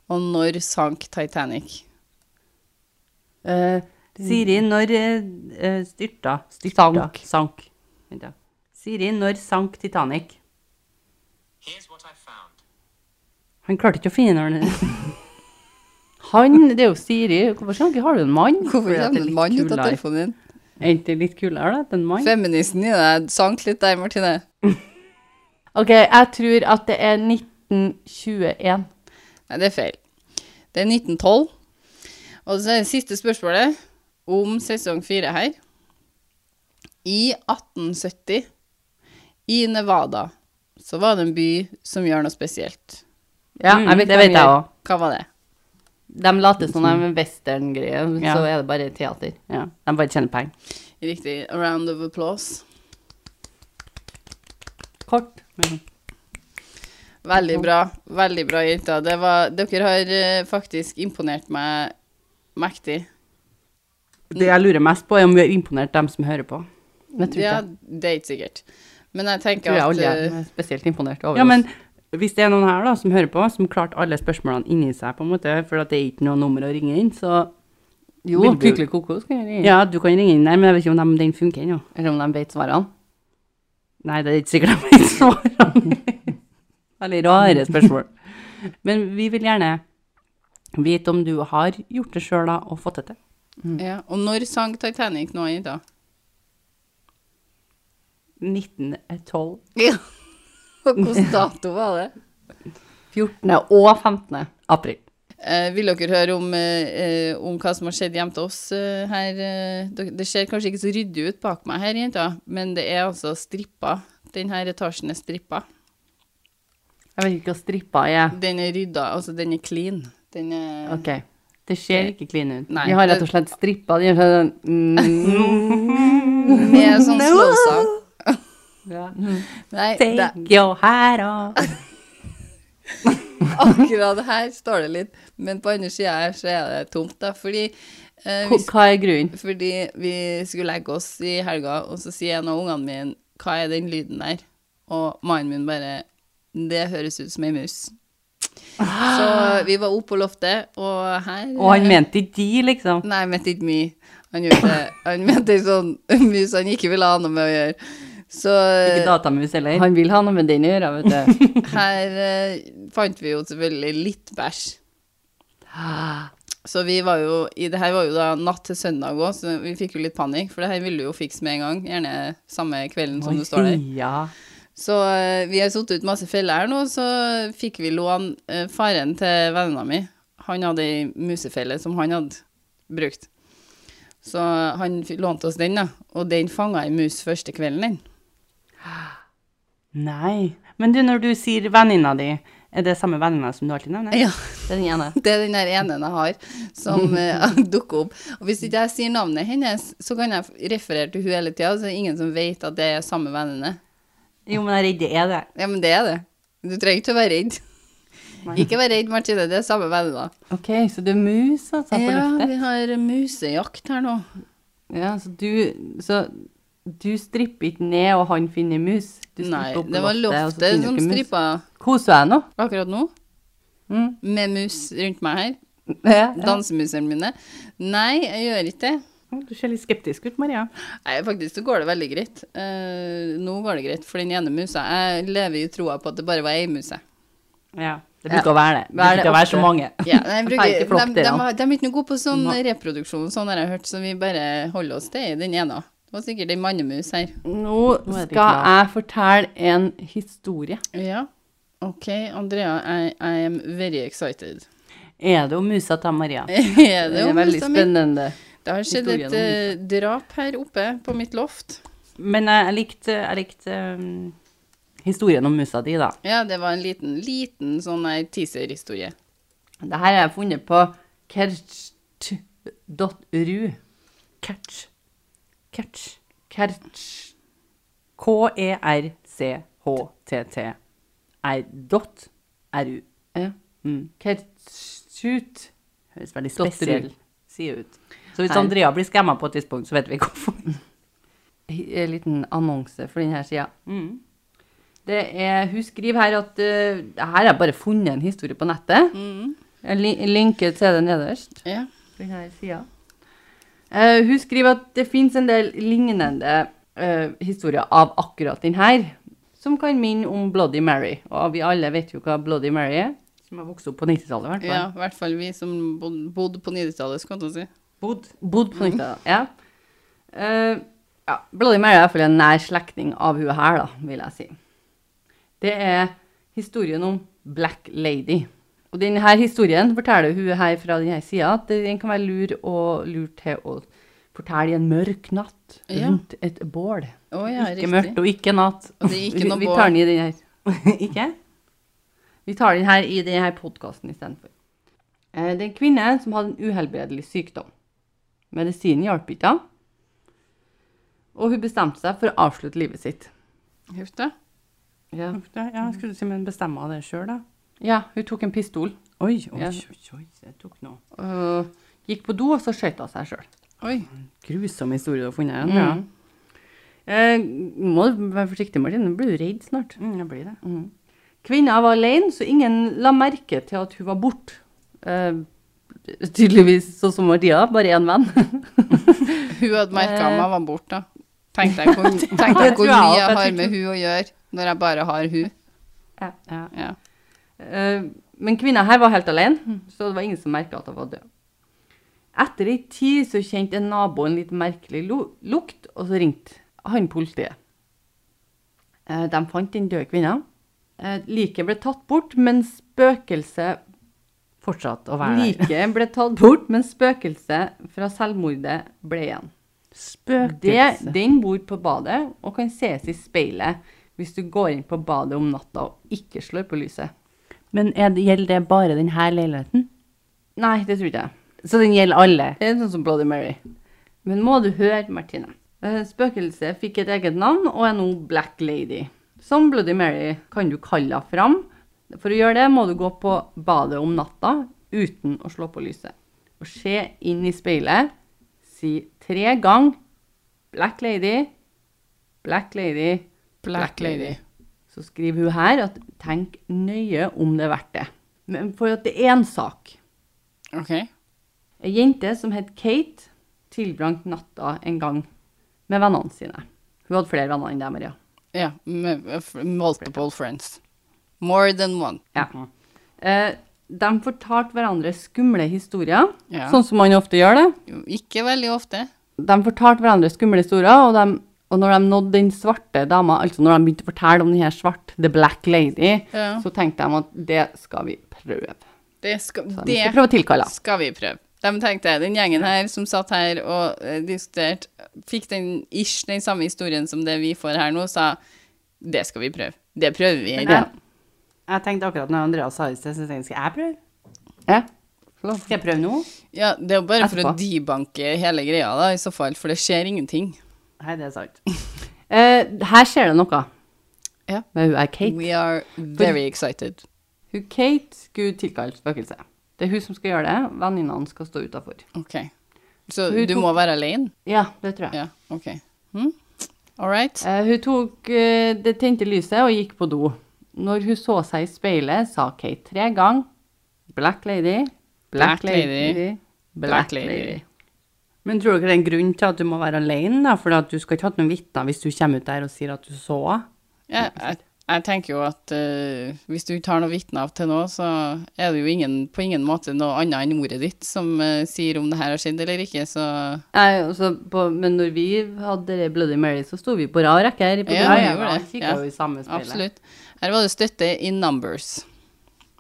[SPEAKER 1] Og når sank Titanic?
[SPEAKER 3] Eh,
[SPEAKER 2] Siri, når eh, eh, styrta, styrta
[SPEAKER 3] Sank.
[SPEAKER 2] Sank. Vent da. Siri, når sank Titanic?
[SPEAKER 4] Here's what I found.
[SPEAKER 2] Han klarte ikke å finne når han
[SPEAKER 3] han, det er jo Siri. Hvorfor skal ikke har du en mann?
[SPEAKER 1] Hvorfor
[SPEAKER 2] Fordi at
[SPEAKER 1] kommer
[SPEAKER 2] det er
[SPEAKER 1] en mann
[SPEAKER 2] litt
[SPEAKER 1] ut av
[SPEAKER 2] kulere.
[SPEAKER 1] telefonen din?
[SPEAKER 2] Endte litt kulere, da, at en mann.
[SPEAKER 1] Feministen i deg sank litt der, Martine.
[SPEAKER 3] Ok, jeg tror at det er 1921.
[SPEAKER 1] Nei, det er feil. Det er 1912. Og så er det siste spørsmålet om sesong fire her. I 1870, i Nevada, så var det en by som gjør noe spesielt.
[SPEAKER 3] Ja,
[SPEAKER 2] Mm,
[SPEAKER 3] jeg Mm. vet
[SPEAKER 2] det
[SPEAKER 3] hva de
[SPEAKER 2] vet jeg
[SPEAKER 3] gjør.
[SPEAKER 2] òg.
[SPEAKER 1] Hva var det?
[SPEAKER 3] De later som de er western-greier,
[SPEAKER 2] Ja.
[SPEAKER 3] så er det bare teater.
[SPEAKER 2] Ja, de bare tjener penger.
[SPEAKER 1] Riktig. A round of applause.
[SPEAKER 3] Kort.
[SPEAKER 1] Veldig bra. Veldig bra, jenter. Det var, dere har eh, faktisk imponert meg mektig.
[SPEAKER 2] Det jeg lurer mest på, er om vi har imponert dem som hører på.
[SPEAKER 3] Jeg tror
[SPEAKER 1] Ja,
[SPEAKER 3] ikke.
[SPEAKER 1] det er ikke sikkert. Men jeg
[SPEAKER 3] Jeg tror
[SPEAKER 1] tenker
[SPEAKER 3] jeg alle
[SPEAKER 1] at eh,
[SPEAKER 3] er spesielt imponert over
[SPEAKER 2] Ja, men
[SPEAKER 3] oss.
[SPEAKER 2] hvis det er noen her da, som hører på, som klarte alle spørsmålene inni seg, på en måte, for at det er ikke noe nummer å ringe inn, så
[SPEAKER 3] Jo,
[SPEAKER 2] Vil du-
[SPEAKER 3] Pykkelig kokos kan jeg gjøre.
[SPEAKER 2] ja, du kan ringe inn der, men jeg vet ikke om dem- den funker ennå.
[SPEAKER 3] Eller om de vet svarene.
[SPEAKER 2] Nei, det er ikke sikkert jeg vet svarene. Veldig rare spørsmål. Men vi vil gjerne vite om du har gjort det sjøl og fått det til.
[SPEAKER 3] Mm.
[SPEAKER 1] ja. Og når sank Titanic nå, jenter?
[SPEAKER 2] 1912.
[SPEAKER 1] Og hvilken dato var det?
[SPEAKER 3] 14. og 15. april.
[SPEAKER 1] Eh, vil dere høre om, eh, eh, om hva som har skjedd hjemme til oss eh, her? eh, dere- det ser kanskje ikke så ryddig ut bak meg her, jenter, men det er altså strippa. Denne etasjen er strippa.
[SPEAKER 3] Jeg vet ikke hva strippa er.
[SPEAKER 1] Den er rydda, altså den er clean. Den er
[SPEAKER 3] Ok.
[SPEAKER 2] Det ser ikke clean ut.
[SPEAKER 1] Nei,
[SPEAKER 3] Vi har rett
[SPEAKER 1] det-
[SPEAKER 3] og slett strippa. De gjør sånn mm,
[SPEAKER 1] Med sånn slow song.
[SPEAKER 3] ja.
[SPEAKER 1] Nei, det
[SPEAKER 2] Take your hat off.
[SPEAKER 1] akkurat her står det litt, men på andre sida her så er det tomt, da. Fordi, eh, vi,
[SPEAKER 3] Hva- Hva er grunnen?
[SPEAKER 1] fordi vi skulle legge oss i helga, og så sier en av ungene mine 'Hva er den lyden der?' Og mannen min bare 'Det høres ut som ei mus'. Så vi var oppe på loftet, og her
[SPEAKER 2] Ah. Og han mente ikke de, liksom.
[SPEAKER 1] Nei, jeg mente ikke mye. Han, gjorde det. han mente ei sånn mus han ikke ville ha noe med å gjøre. Så
[SPEAKER 3] Eh,
[SPEAKER 2] Ikke datamus heller.
[SPEAKER 3] Han vil ha noe med den å gjøre, vet du.
[SPEAKER 1] her eh, fant vi jo selvfølgelig litt bæsj.
[SPEAKER 3] Ah,
[SPEAKER 1] Så vi var jo i Det her var jo da natt til søndag òg, så vi fikk jo litt panikk, for det her ville du jo fikse med en gang. Gjerne samme kvelden som du står der.
[SPEAKER 2] Ja.
[SPEAKER 1] Så eh, vi har satt ut masse feller her nå, så fikk vi låne eh, faren til venninna mi. Han hadde ei musefelle som han hadde brukt. Så han f- lånte oss den, da. Og den fanga ei mus første kvelden, den.
[SPEAKER 2] Nei. Men du, når du sier venninna di, er det samme venninna som du alltid nevner?
[SPEAKER 1] Ja.
[SPEAKER 3] det er den ene.
[SPEAKER 1] Det er den der ene jeg har, som eh, dukker opp. Og hvis ikke jeg sier navnet hennes, så kan jeg f- referere til hun hele tida, så det er ingen som vet at det er samme venninne.
[SPEAKER 2] Jo, men jeg er redd det er det.
[SPEAKER 1] Ja, men det er det. Du trenger ikke å være redd. Ikke vær redd, Martine. Det er samme venner.
[SPEAKER 3] Ok, så det er mus, altså, på
[SPEAKER 1] Ja,
[SPEAKER 3] loftet.
[SPEAKER 1] vi har musejakt her nå.
[SPEAKER 3] Ja, så du, så du stripper ikke ned, og han finner mus? Du stripper
[SPEAKER 1] Nei,
[SPEAKER 3] opp på
[SPEAKER 1] det var
[SPEAKER 3] og så
[SPEAKER 1] loftet
[SPEAKER 3] finner du
[SPEAKER 1] som
[SPEAKER 3] ikke mus.
[SPEAKER 1] strippa
[SPEAKER 3] Koser jeg nå?
[SPEAKER 1] akkurat nå,
[SPEAKER 3] Mm.
[SPEAKER 1] med mus rundt meg her.
[SPEAKER 3] Ja, ja.
[SPEAKER 1] Dansemusene mine. Nei, jeg gjør ikke det.
[SPEAKER 2] Du ser litt skeptisk ut, Maria.
[SPEAKER 1] Nei, faktisk så går det veldig greit. Eh, nå går det greit for den ene musa. Jeg lever i troa på at det bare var ei muse.
[SPEAKER 2] Ja, det
[SPEAKER 3] Ja.
[SPEAKER 2] bruker å være det. Det
[SPEAKER 3] Hva er
[SPEAKER 2] bruker
[SPEAKER 3] det
[SPEAKER 2] å være så
[SPEAKER 3] ofte?
[SPEAKER 2] mange.
[SPEAKER 1] Ja, nei, jeg bruker,
[SPEAKER 2] Feil i flokk,
[SPEAKER 1] de, de,
[SPEAKER 2] dere.
[SPEAKER 1] har- de er ikke noe gode på sånn
[SPEAKER 2] Nei.
[SPEAKER 1] reproduksjon, sånn har jeg hørt, så vi bare holder oss til den ene. Det var sikkert en mannemus her.
[SPEAKER 3] Nå
[SPEAKER 2] Nå er det
[SPEAKER 3] skal
[SPEAKER 2] klart.
[SPEAKER 3] jeg fortelle en historie.
[SPEAKER 1] Ja. OK, Andrea, I, I am very excited.
[SPEAKER 2] Er det jo musa til Maria?
[SPEAKER 1] er
[SPEAKER 3] Det
[SPEAKER 1] det
[SPEAKER 3] er
[SPEAKER 1] jo
[SPEAKER 3] veldig
[SPEAKER 1] musa mi?
[SPEAKER 3] spennende.
[SPEAKER 1] Det har skjedd et
[SPEAKER 3] Historien om
[SPEAKER 1] eh, drap her oppe på mitt loft.
[SPEAKER 2] Men eh, jeg jeg likte, jeg likte um, historien om musa di, da.
[SPEAKER 1] Ja, det var en liten, liten sånn ei teaser-historie.
[SPEAKER 3] Dette har jeg funnet på kerch.ru.
[SPEAKER 2] Catch. Catch.
[SPEAKER 3] Kerch.
[SPEAKER 2] E K-e-r-c-h-t-t. Er dot ru.
[SPEAKER 3] Ja.
[SPEAKER 2] Mm.
[SPEAKER 3] Kerchut.
[SPEAKER 2] Høres veldig
[SPEAKER 3] Dot ru.
[SPEAKER 2] spesiell side ut. Så hvis
[SPEAKER 3] Her.
[SPEAKER 2] Andrea blir skamma på et tidspunkt, så vet vi hvorfor.
[SPEAKER 3] En eh, liten annonse for denne sida.
[SPEAKER 2] Mm.
[SPEAKER 3] Det er, hun skriver her at eh, her har jeg bare funnet en historie på nettet.
[SPEAKER 1] Mm.
[SPEAKER 3] Jeg li- linker til det nederst.
[SPEAKER 1] Ja.
[SPEAKER 3] på denne siden. Eh, hun skriver at det finnes en del lignende eh, historier av akkurat den her, som kan minne om Bloody Mary. Og vi alle vet jo hva Bloody Mary er, som har vokst opp på 90-tallet i hvert fall.
[SPEAKER 1] ja, i hvert fall vi som bod- bodde på 90-tallet, skal man si.
[SPEAKER 2] Bod.
[SPEAKER 3] Bodd
[SPEAKER 1] Mm.
[SPEAKER 3] på Nytta, ja. Eh, ja. Bloody Mary er i hvert fall en nær slektning av hun her, da, vil jeg si. Det er historien om Black Lady. Og denne historien forteller hun her fra denne sida at den kan være lur og lur til å fortelle i en mørk natt
[SPEAKER 1] Ja.
[SPEAKER 3] rundt et bål.
[SPEAKER 1] Å ja,
[SPEAKER 2] Ikke
[SPEAKER 1] riktig.
[SPEAKER 2] mørkt og ikke natt.
[SPEAKER 1] Og det er ikke
[SPEAKER 3] Vi,
[SPEAKER 1] noe
[SPEAKER 3] vi
[SPEAKER 1] på
[SPEAKER 3] tar den i den her.
[SPEAKER 2] ikke?
[SPEAKER 3] Vi tar den her i denne podkasten istedenfor. Eh, Det er en kvinne som hadde en uhelbredelig sykdom. Medisinen hjalp ikke, da. og hun bestemte seg for å avslutte livet sitt.
[SPEAKER 1] Huff da.
[SPEAKER 3] Ja,
[SPEAKER 2] Ja, skulle du si, men bestemme det sjøl, da?
[SPEAKER 3] hun tok en pistol,
[SPEAKER 2] Oi, oi,
[SPEAKER 3] Ja.
[SPEAKER 2] oi, oi, det tok noe.
[SPEAKER 3] øh, gikk på do, og så skjøt hun seg sjøl.
[SPEAKER 1] Oi.
[SPEAKER 2] Grusom historie du har funnet igjen.
[SPEAKER 3] Mm. Eh, må du være forsiktig, Martin, nå blir du redd snart.
[SPEAKER 2] Ja, Mm, det blir det.
[SPEAKER 3] Kvinna var alene, så ingen la merke til at hun var borte. Eh, tydeligvis sånn som Maria, bare én venn.
[SPEAKER 1] Hun hadde merka
[SPEAKER 3] Eh.
[SPEAKER 1] meg var borte, da. Tenkte jeg hvor, tenkte jeg
[SPEAKER 2] tror
[SPEAKER 1] hvor
[SPEAKER 2] jeg også,
[SPEAKER 1] mye jeg
[SPEAKER 2] jeg
[SPEAKER 1] har
[SPEAKER 2] tenkte-
[SPEAKER 1] med hun å gjøre, når jeg bare har hun.
[SPEAKER 2] Ja.
[SPEAKER 1] Ja.
[SPEAKER 3] Eh, Men kvinna her var helt
[SPEAKER 2] Mm.
[SPEAKER 3] alene, så det var ingen som merka at hun var død. Etter ei tid så kjente en nabo en litt merkelig lu- lukt, og så ringte han politiet. Eh, De fant den døde kvinna. Eh, Liket ble tatt bort, men spøkelset
[SPEAKER 2] Fortsatt å være der.
[SPEAKER 3] Liket ble tatt bort, men spøkelset fra selvmordet ble igjen. Det,
[SPEAKER 2] Spøkelse.
[SPEAKER 3] den bor på badet og kan ses i speilet hvis du går inn på badet om natta og ikke slår på lyset.
[SPEAKER 2] Men er det, gjelder det bare denne leiligheten?
[SPEAKER 3] Nei, det tror ikke jeg.
[SPEAKER 2] Så den gjelder alle?
[SPEAKER 3] Det er sånn som Bloody Mary. Men må du høre, Martine. Eh, Spøkelset fikk et eget navn og er nå Black Lady. Som Bloody Mary kan du kalle henne fram. For å gjøre det må du gå på badet om natta uten å slå på lyset. Og se inn i speilet. Si tre ganger Black Lady, Black Lady,
[SPEAKER 1] Black Lady.
[SPEAKER 3] Så skriver hun her at tenk nøye om det er verdt det. Men for at det er en sak.
[SPEAKER 1] OK.
[SPEAKER 3] Ei jente som het Kate, tilbrangte natta en gang med vennene sine. Hun hadde flere venner enn deg, Maria.
[SPEAKER 1] Ja. med- med f- Multiple friends. More than one.
[SPEAKER 3] Ja. Eh, de fortalte hverandre skumle historier,
[SPEAKER 1] Ja.
[SPEAKER 3] sånn som man ofte gjør det.
[SPEAKER 1] Jo, Ikke veldig ofte.
[SPEAKER 3] De fortalte hverandre skumle historier, og, de, og når de nådde den svarte dama, altså når de begynte å fortelle om den her svart, the black lady,
[SPEAKER 1] Ja.
[SPEAKER 3] så tenkte de at det skal vi prøve.
[SPEAKER 1] Det skal,
[SPEAKER 3] Så de
[SPEAKER 1] det
[SPEAKER 3] skal prøve å tilkalle. henne.
[SPEAKER 1] skal vi prøve. De tenkte, Den gjengen her som satt her og eh, diskuterte, fikk den ish den samme historien som det vi får her nå, sa det skal vi prøve. Det prøver vi.
[SPEAKER 2] Ja. Jeg tenkte akkurat når Andreas sa i sted, så tenkte jeg skal jeg prøve?
[SPEAKER 3] Ja.
[SPEAKER 2] Skal jeg prøve nå?
[SPEAKER 1] Ja, Det er jo bare for å
[SPEAKER 3] Etterpå.
[SPEAKER 1] debanke hele greia, da, i så fall, for det skjer ingenting.
[SPEAKER 2] Nei, det er sant.
[SPEAKER 3] Eh, her skjer det noe
[SPEAKER 1] Ja.
[SPEAKER 3] med hun er Kate.
[SPEAKER 1] We are very excited.
[SPEAKER 3] Hun Kate skulle tilkalle spøkelset. Det er hun som skal gjøre det, venninnene skal stå utafor.
[SPEAKER 1] OK. Så
[SPEAKER 3] Hun
[SPEAKER 1] du
[SPEAKER 3] tok-
[SPEAKER 1] må være alene?
[SPEAKER 3] Ja, det tror jeg.
[SPEAKER 1] Ja, OK. Hm? All right.
[SPEAKER 3] Eh, hun tok eh, det tente lyset og gikk på do. Når hun så seg i speilet, sa Kate tre ganger Black lady,
[SPEAKER 1] Black lady, black lady».
[SPEAKER 2] Men tror dere det er en grunn til at du må være alene, da? For at du skal ikke ha noen vitner hvis du kommer ut der og sier at du så henne.
[SPEAKER 1] Jeg, jeg, jeg tenker jo at eh, hvis du ikke har noe vitne av til nå, så er det jo ingen, på ingen måte noe annet enn ordet ditt som eh, sier om det her har skjedd eller ikke, så
[SPEAKER 3] Nei, altså, på, men når vi hadde det Bloody Mary, så sto vi på rad rekke her. På
[SPEAKER 1] Ja,
[SPEAKER 3] do.
[SPEAKER 1] vi gjorde
[SPEAKER 2] da
[SPEAKER 1] det.
[SPEAKER 2] Kikket
[SPEAKER 1] Ja,
[SPEAKER 2] jo i samme speilet.
[SPEAKER 1] absolutt. Her var det støtte in numbers.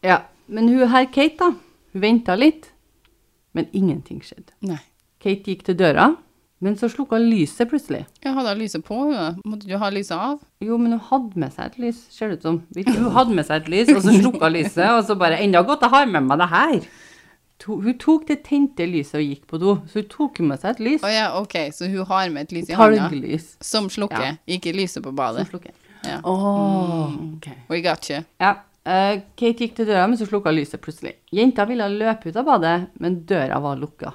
[SPEAKER 3] Ja. Men hun her, Kate, da, hun venta litt, men ingenting skjedde.
[SPEAKER 1] Nei.
[SPEAKER 3] Kate gikk til døra, men så slukka lyset plutselig.
[SPEAKER 1] Jeg hadde lyset på, hun, da. Måtte du ha lyset av?
[SPEAKER 3] Jo, men hun hadde med seg et lys, ser det ut som. Virker
[SPEAKER 2] Hun hadde med seg et lys, og så slukka lyset, og så bare 'Enda godt jeg har med meg det her'.
[SPEAKER 3] to, hun tok det tente lyset og gikk på do, så hun tok med seg et lys.
[SPEAKER 1] Å ja, OK, så hun har med et lys i hånda
[SPEAKER 3] Talglys.
[SPEAKER 1] som slukker,
[SPEAKER 3] Ja.
[SPEAKER 1] ikke lyset på badet.
[SPEAKER 3] som slukket.
[SPEAKER 1] Ja.
[SPEAKER 3] Mm.
[SPEAKER 2] Mm, ok.
[SPEAKER 1] We got you.
[SPEAKER 3] Ja. eh, Kate gikk til døra, men så slukka lyset plutselig. Jenta ville løpe ut av badet, men døra var lukka.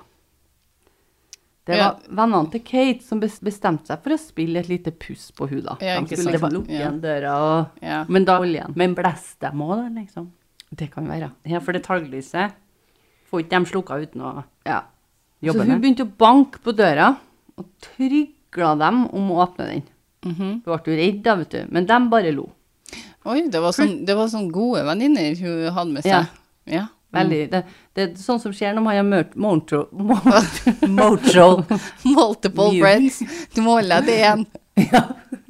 [SPEAKER 3] Det
[SPEAKER 1] Ja.
[SPEAKER 3] var vennene til Kate som bes- bestemte seg for å spille et lite puss på hun da.
[SPEAKER 1] Ja,
[SPEAKER 3] De
[SPEAKER 1] ikke
[SPEAKER 3] skulle
[SPEAKER 1] sant.
[SPEAKER 3] bare lukke
[SPEAKER 1] Ja.
[SPEAKER 3] igjen døra og
[SPEAKER 1] Ja.
[SPEAKER 2] Men da
[SPEAKER 3] holde igjen.
[SPEAKER 2] Men bless dem òg, da, liksom.
[SPEAKER 3] Det kan være.
[SPEAKER 2] Ja, for det talglyset får ikke dem slukka uten å
[SPEAKER 3] Ja. Så
[SPEAKER 2] jobbe
[SPEAKER 3] hun
[SPEAKER 2] med.
[SPEAKER 3] begynte å banke på døra og trygla dem om å åpne den.
[SPEAKER 1] Mhm.
[SPEAKER 3] Hun ble jo redd da, vet du, men de bare lo.
[SPEAKER 1] Oi, det var sånn, det var sånn gode venninner hun hadde med seg. Ja.
[SPEAKER 3] Veldig,
[SPEAKER 1] Mm.
[SPEAKER 3] det, det er sånn som skjer når man har mørt morgentro... morgen-
[SPEAKER 2] Mojo.
[SPEAKER 1] Multiple
[SPEAKER 2] Mye.
[SPEAKER 1] friends. Du må holde deg til én.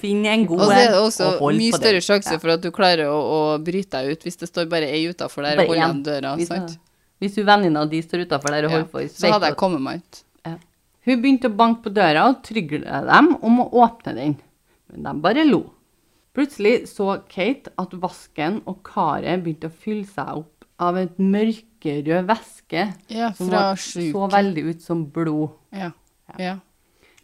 [SPEAKER 2] Finn en god
[SPEAKER 1] Og så er det
[SPEAKER 2] en,
[SPEAKER 1] også
[SPEAKER 2] og hold
[SPEAKER 1] mye
[SPEAKER 2] på
[SPEAKER 1] større
[SPEAKER 2] den.
[SPEAKER 1] sjanse for at du klarer å, å bryte deg ut hvis det står bare ei utafor der
[SPEAKER 3] Bare
[SPEAKER 1] og holder
[SPEAKER 3] én.
[SPEAKER 1] igjen døra.
[SPEAKER 3] Hvis,
[SPEAKER 1] Sant?
[SPEAKER 3] hvis hun venninna di står utafor der og
[SPEAKER 1] Ja.
[SPEAKER 3] holder på i
[SPEAKER 1] Så hadde jeg
[SPEAKER 3] sveita
[SPEAKER 1] kommet meg ut.
[SPEAKER 3] Hun begynte å banke på døra og trygle dem om å åpne den, men de bare lo. Plutselig så Kate at vasken og karet begynte å fylle seg opp av et mørkerød væske
[SPEAKER 1] Ja,
[SPEAKER 3] som
[SPEAKER 1] fra
[SPEAKER 3] var-
[SPEAKER 1] sjuk.
[SPEAKER 3] så veldig ut som blod.
[SPEAKER 1] Ja. ja.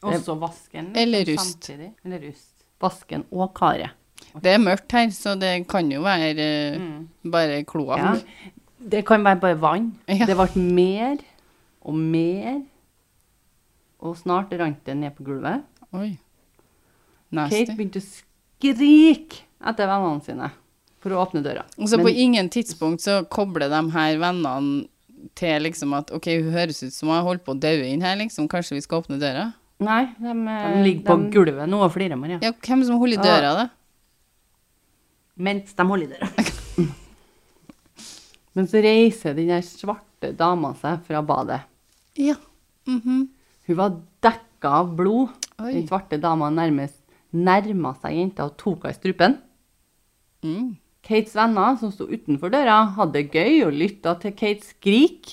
[SPEAKER 2] Og så vasken.
[SPEAKER 1] Eller
[SPEAKER 2] liksom,
[SPEAKER 1] rust.
[SPEAKER 2] samtidig. Eller rust.
[SPEAKER 3] Vasken og karet.
[SPEAKER 1] Det er mørkt her, så det kan jo være eh, bare
[SPEAKER 2] Ja.
[SPEAKER 1] kloakk.
[SPEAKER 2] Det kan være bare vann.
[SPEAKER 1] Ja.
[SPEAKER 3] Det ble mer og mer, og snart rant det ned på gulvet.
[SPEAKER 1] Oi.
[SPEAKER 3] Kate
[SPEAKER 1] Nasty.
[SPEAKER 3] begynte å skrike etter vennene sine for å åpne døra.
[SPEAKER 1] Og så på
[SPEAKER 3] Men-
[SPEAKER 1] ingen tidspunkt så kobler de her vennene til liksom at OK, hun høres ut som hun holder på å dø inn her, liksom. Kanskje vi skal åpne døra?
[SPEAKER 3] Nei, de, eh,
[SPEAKER 2] Mm, De ligger på
[SPEAKER 3] de-
[SPEAKER 2] gulvet nå og flirer, Maria.
[SPEAKER 1] Ja, hvem som holder i døra, da?
[SPEAKER 2] Mens de holder i døra.
[SPEAKER 3] Men så reiser den der svarte dama seg fra badet.
[SPEAKER 1] Ja. Mhm.
[SPEAKER 3] Hun var dekka av blod.
[SPEAKER 1] Oi.
[SPEAKER 3] Den svarte dama nærmest nærma seg jenta og tok henne i strupen.
[SPEAKER 1] mm.
[SPEAKER 3] Kates venner som sto utenfor døra, hadde det gøy og lytta til Kate skrik.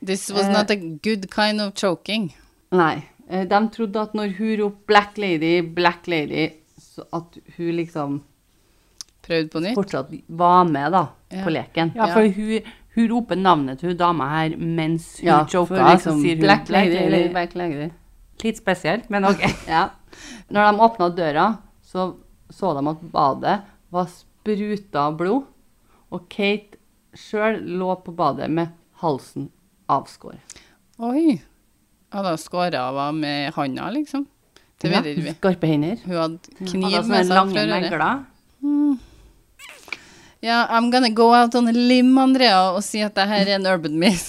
[SPEAKER 1] This was not a
[SPEAKER 2] Eh.
[SPEAKER 1] good kind of choking.
[SPEAKER 3] Nei, eh, de trodde at når hun ropte 'Black Lady, Black Lady', så at hun liksom
[SPEAKER 1] Prøvd på nytt.
[SPEAKER 3] fortsatt var med da,
[SPEAKER 1] Ja.
[SPEAKER 3] på leken.
[SPEAKER 2] Ja,
[SPEAKER 1] Ja.
[SPEAKER 2] for hun, hun roper navnet til hun dama her mens hun
[SPEAKER 3] Ja,
[SPEAKER 2] joker.
[SPEAKER 3] for liksom,
[SPEAKER 2] så sier hun
[SPEAKER 3] Black Lady,
[SPEAKER 2] Black
[SPEAKER 3] eller Black Lady.
[SPEAKER 2] Litt spesielt, men OK.
[SPEAKER 3] Ja. Når de åpna døra, så så de at badet var spruta av blod, og Kate sjøl lå på badet med halsen avskåret.
[SPEAKER 1] Oi. Hadde hun skåret av henne med handa, liksom? Det
[SPEAKER 3] Ja,
[SPEAKER 1] vet ikke vi.
[SPEAKER 3] Skarpe hender.
[SPEAKER 1] Hun hadde
[SPEAKER 2] Hadde
[SPEAKER 1] kniv med
[SPEAKER 2] sånne
[SPEAKER 1] seg
[SPEAKER 2] lange
[SPEAKER 1] fra røret.
[SPEAKER 2] negler.
[SPEAKER 1] Ja, I'm gonna go out on a limb, Andrea, og si at det her er en urban myth.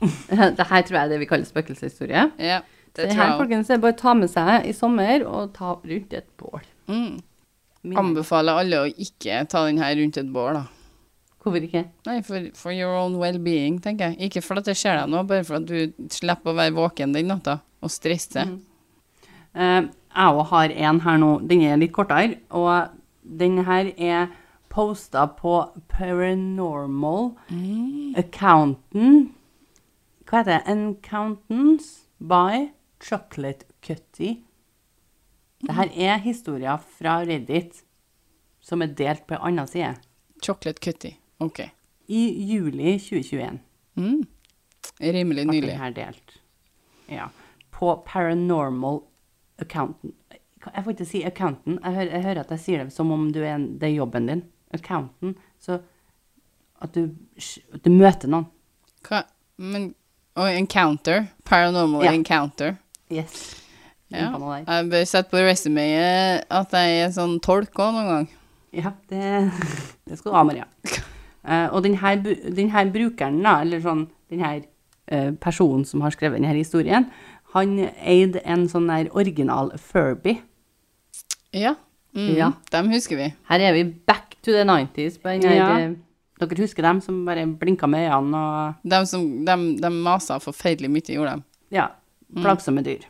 [SPEAKER 3] Dette tror jeg er det vi kaller spøkelseshistorie.
[SPEAKER 1] ja, det
[SPEAKER 3] Det
[SPEAKER 1] tror
[SPEAKER 3] her,
[SPEAKER 1] jeg.
[SPEAKER 3] folkens, er bare å ta med seg i sommer og ta rundt et bål.
[SPEAKER 1] Mm.
[SPEAKER 2] Min-
[SPEAKER 1] Anbefaler alle å ikke ta den her rundt et bål, da.
[SPEAKER 3] Hvorfor ikke?
[SPEAKER 1] Nei, for, for your own well-being, tenker jeg. Ikke for at det skjer deg noe, bare for at du slipper å være våken den natta og stresse.
[SPEAKER 2] Mhm. Eh, jeg òg har en her nå. Den er litt kortere. Og den her er posta på Paranormal
[SPEAKER 1] Mm.
[SPEAKER 2] Accountant Hva heter det? Accountants by Chocolate Cutty. Det her er historier fra Reddit som er delt på en annen side.
[SPEAKER 1] Chocolate cutty. OK.
[SPEAKER 2] I juli 2021.
[SPEAKER 1] Mm. Rimelig
[SPEAKER 2] at
[SPEAKER 1] nylig.
[SPEAKER 2] den her delt. Ja. På Paranormal Accountant. Jeg får ikke si accountant. Jeg hører, jeg hører at jeg sier det som om du er en, det er jobben din. Accountant. Så at du, at du møter noen.
[SPEAKER 1] Hva? Men Og encounter. Paranormal
[SPEAKER 2] Ja. Mm.
[SPEAKER 1] encounter.
[SPEAKER 2] Yes.
[SPEAKER 1] Ja.
[SPEAKER 2] Inn på noe der.
[SPEAKER 1] Jeg bør sette på resuméet at jeg er sånn tolk òg noen gang.
[SPEAKER 2] Ja, det, det skal du ha, Maria. Eh, og denne, denne brukeren, da, eller sånn, denne personen som har skrevet denne historien, han eide en sånn der original Furby.
[SPEAKER 1] Ja. Mm,
[SPEAKER 2] Ja.
[SPEAKER 1] Dem husker vi.
[SPEAKER 2] Her er vi back to the 90s på eh, denne
[SPEAKER 3] Ja.
[SPEAKER 2] Dere husker dem som bare blinka med øynene og
[SPEAKER 1] Dem som dem, dem masa forferdelig mye, gjorde dem.
[SPEAKER 2] ja,
[SPEAKER 1] Mm.
[SPEAKER 2] plagsomme dyr.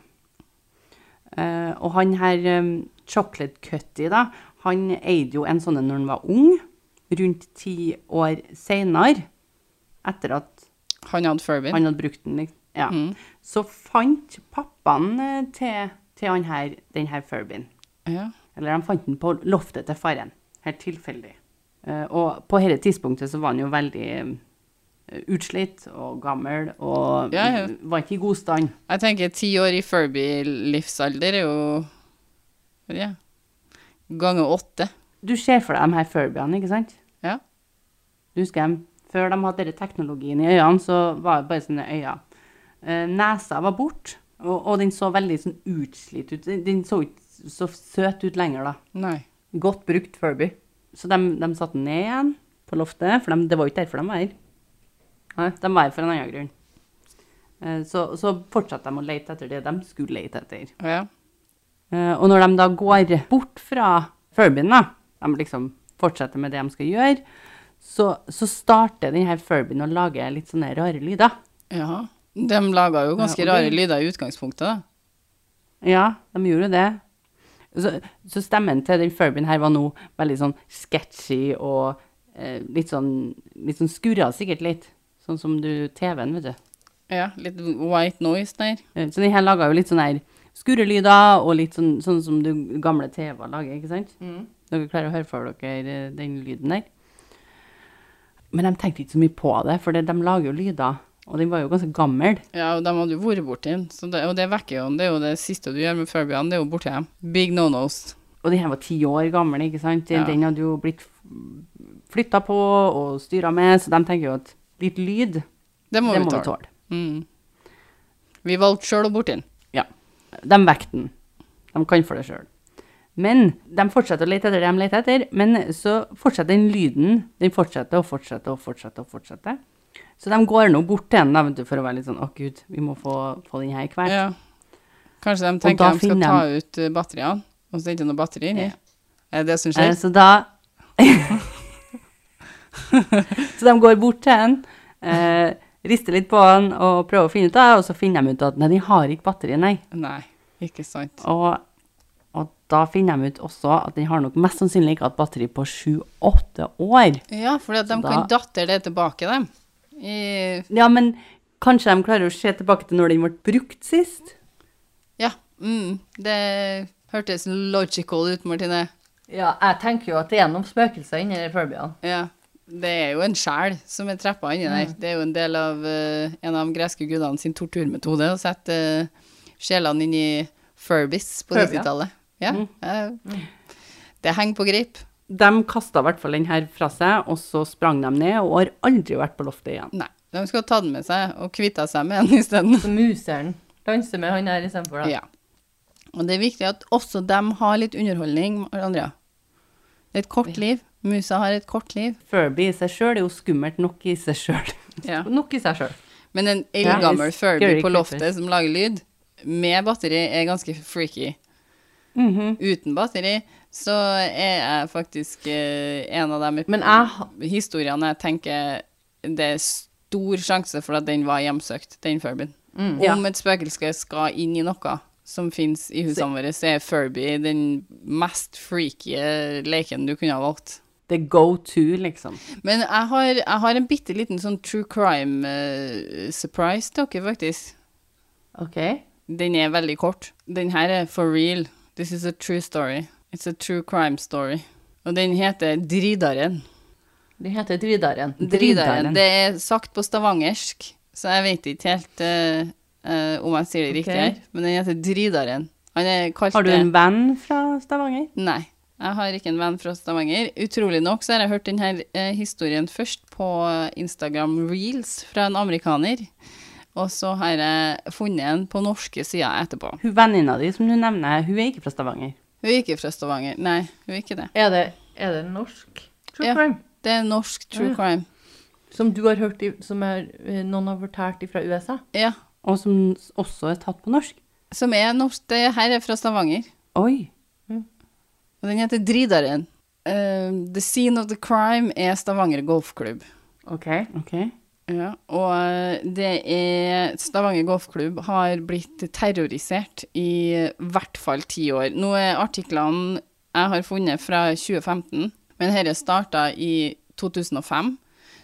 [SPEAKER 2] Eh, og han her eh, Chocolate Cutty, da, han eide jo en sånn en når han var ung, rundt ti år seinere, etter at
[SPEAKER 1] Han hadde Furby.
[SPEAKER 2] Han hadde brukt den, liksom. Ja.
[SPEAKER 1] Mm.
[SPEAKER 2] Så fant pappaen eh, til, til han her, den her Furbyen.
[SPEAKER 1] Ja.
[SPEAKER 2] Eller han fant den på loftet til faren. Helt tilfeldig. Eh, og på dette tidspunktet så var han jo veldig eh, utslitt og gammel og
[SPEAKER 1] Ja, ja.
[SPEAKER 2] var ikke i god stand.
[SPEAKER 1] Jeg tenker ti år i Furby-livsalder er jo Ja. Ganger åtte.
[SPEAKER 2] Du ser for deg de her Furbyene, ikke sant?
[SPEAKER 1] Ja.
[SPEAKER 2] Du husker dem. Før de hadde denne teknologien i øynene, så var det bare sånne øyne. Eh, Nesa var bort, og, og den så veldig sånn utslitt ut. Den- Den så ikke så søt ut lenger, da.
[SPEAKER 1] Nei.
[SPEAKER 2] Godt brukt Furby. Så de, de satte den ned igjen på loftet, for dem- det var jo ikke derfor de var her. Nei, de var her for en annen grunn. Eh, Så, så fortsatte de å lete etter det de skulle lete etter.
[SPEAKER 1] Ja.
[SPEAKER 2] Eh, Og når de da går bort fra Furbyen, da, de liksom fortsetter med det de skal gjøre, så, så starter denne Furbyen å lage litt sånne rare lyder.
[SPEAKER 1] ja. De laga jo ganske
[SPEAKER 2] Ja, og
[SPEAKER 1] rare
[SPEAKER 2] det-
[SPEAKER 1] lyder i utgangspunktet, da.
[SPEAKER 2] Ja, de gjorde jo det. Så, så stemmen til den Furbyen her var nå veldig sånn sketchy og eh, litt sånn, litt sånn skurra sikkert litt. Sånn som du TV-en, vet du.
[SPEAKER 1] Ja, litt white noise der.
[SPEAKER 2] Eh, Så den her laga jo litt sånn her skurrelyder og litt sånn, sånn som du gamle TV-er lager, ikke sant?
[SPEAKER 1] Mm.
[SPEAKER 2] Dere klarer å høre for dere eh, den lyden der. Men de tenkte ikke så mye på det, for det- de lager jo lyder. Og den var jo ganske gammel.
[SPEAKER 1] Ja, og de hadde jo vært borti den, så det, og det vekker jo han. Det er jo det siste du gjør med Furbyene, det er jo borti dem. Big no-nos.
[SPEAKER 2] Og den her var ti år gammel, ikke sant?
[SPEAKER 1] Ja.
[SPEAKER 2] Den hadde jo blitt flytta på og styra med, så de tenker jo at litt lyd,
[SPEAKER 1] Det må
[SPEAKER 2] det
[SPEAKER 1] vi
[SPEAKER 2] må vi
[SPEAKER 1] tåle.
[SPEAKER 2] tåle.
[SPEAKER 1] Mm. Vi valgte sjøl å borti den.
[SPEAKER 2] Ja. De vekket den. De kan for det sjøl. Men de fortsetter å lete etter det de leter etter, men så fortsetter den lyden. Den fortsetter og fortsetter og fortsetter. og fortsetter. Så de går nå bort til den da, vet du, for å være litt sånn Å, gud, vi må få, få den her hvert.
[SPEAKER 1] Ja. Kanskje de
[SPEAKER 2] da
[SPEAKER 1] tenker de skal
[SPEAKER 2] finner
[SPEAKER 1] ta ut eh, batteriene, og så er det ikke noe batteri inni.
[SPEAKER 2] Ja.
[SPEAKER 1] Er det det som
[SPEAKER 2] Eh,
[SPEAKER 1] skjer?
[SPEAKER 2] Så da Så de går bort til den, eh, rister litt på den og prøver å finne ut av det, og så finner de ut at nei, de har ikke batteri, nei.
[SPEAKER 1] Nei, ikke sant.
[SPEAKER 2] Og, og da finner de ut også at de har nok mest sannsynlig ikke hatt batteri på sju-åtte år.
[SPEAKER 1] Ja, for de
[SPEAKER 2] Så
[SPEAKER 1] kan
[SPEAKER 2] da-
[SPEAKER 1] datter det tilbake, dem. I,
[SPEAKER 2] Ja, men kanskje de klarer å se tilbake til når den ble brukt sist?
[SPEAKER 1] ja. Mm, det hørtes logical ut, Martine.
[SPEAKER 3] Ja, jeg tenker jo at det er noen spøkelser inni de Furbyene.
[SPEAKER 1] Ja. Det er jo en sjel som er trappa inni der. Det er jo en del av eh, en av de greske gudene sin torturmetode å sette uh, sjelene inn i Furbys på
[SPEAKER 3] Furby, ja.
[SPEAKER 1] 90-tallet. Ja. eh, det henger på grip.
[SPEAKER 2] De kasta i hvert fall den her fra seg, og så sprang de ned og har aldri vært på loftet igjen.
[SPEAKER 1] Nei. De skal ta den med seg og kvitte seg med den isteden.
[SPEAKER 3] Så museren danser med han her istedenfor, da.
[SPEAKER 1] Ja. Og det er viktig at også dem har litt underholdning, Andrea. Det er et kort liv. Musa har et kort liv.
[SPEAKER 2] Furby i seg sjøl er jo skummelt nok i seg sjøl.
[SPEAKER 1] Ja.
[SPEAKER 3] Nok i seg sjøl.
[SPEAKER 1] Men en
[SPEAKER 2] Ja,
[SPEAKER 1] eldgammel
[SPEAKER 2] det er
[SPEAKER 1] Furby på
[SPEAKER 2] scary creepy.
[SPEAKER 1] loftet som lager lyd, med batteri, er ganske freaky.
[SPEAKER 2] Mhm.
[SPEAKER 1] Uten batteri så er jeg faktisk eh, en av de
[SPEAKER 3] Men jeg ha-
[SPEAKER 1] historiene jeg tenker det er stor sjanse for at den var hjemsøkt, den Furbyen.
[SPEAKER 3] Mm.
[SPEAKER 1] Om et spøkelse skal inn i noe som fins i husene våre, så er Furby den mest freaky leken du kunne ha valgt.
[SPEAKER 2] Det er go to, liksom.
[SPEAKER 1] Men jeg har, jeg har en bitte liten sånn true crime-surprise til dere, faktisk.
[SPEAKER 3] OK.
[SPEAKER 1] Den er veldig kort. Den her er for real. This is a true story. It's a true crime story. Og den heter Dridaren.
[SPEAKER 3] Den heter Dridaren.
[SPEAKER 1] Dridaren. Det er sagt på stavangersk, så jeg vet ikke helt eh, eh, om jeg sier det
[SPEAKER 3] Ok.
[SPEAKER 1] riktig her. Men den heter Dridaren. Han er kalt
[SPEAKER 2] Har du en venn fra Stavanger?
[SPEAKER 1] Nei. Jeg har ikke en venn fra Stavanger. Utrolig nok så har jeg hørt eh, denne historien først på Instagram Reels fra en amerikaner. Og så har jeg funnet en på norske sida etterpå.
[SPEAKER 2] Hun venninna di som du nevner, hun er ikke fra Stavanger.
[SPEAKER 1] Hun er ikke fra Stavanger. Nei, hun er ikke det.
[SPEAKER 3] Er det, er det norsk true
[SPEAKER 1] Ja.
[SPEAKER 3] crime?
[SPEAKER 1] Det er norsk true
[SPEAKER 3] Ja.
[SPEAKER 1] crime.
[SPEAKER 3] Som du har hørt, i, som er, eh, noen har fortalt fra USA?
[SPEAKER 1] Ja.
[SPEAKER 2] Og som s- også er tatt på norsk.
[SPEAKER 1] Som er norsk. Det her er fra Stavanger.
[SPEAKER 2] Oi.
[SPEAKER 1] Og den heter Dridaren. Eh, the Scene of the Crime er Stavanger golfklubb.
[SPEAKER 3] Ok.
[SPEAKER 2] Ok.
[SPEAKER 1] Ja, og eh, det er Stavanger golfklubb har blitt terrorisert i eh, hvert fall ti år. Nå er artiklene jeg har funnet fra 2015, men dette starta i 2005.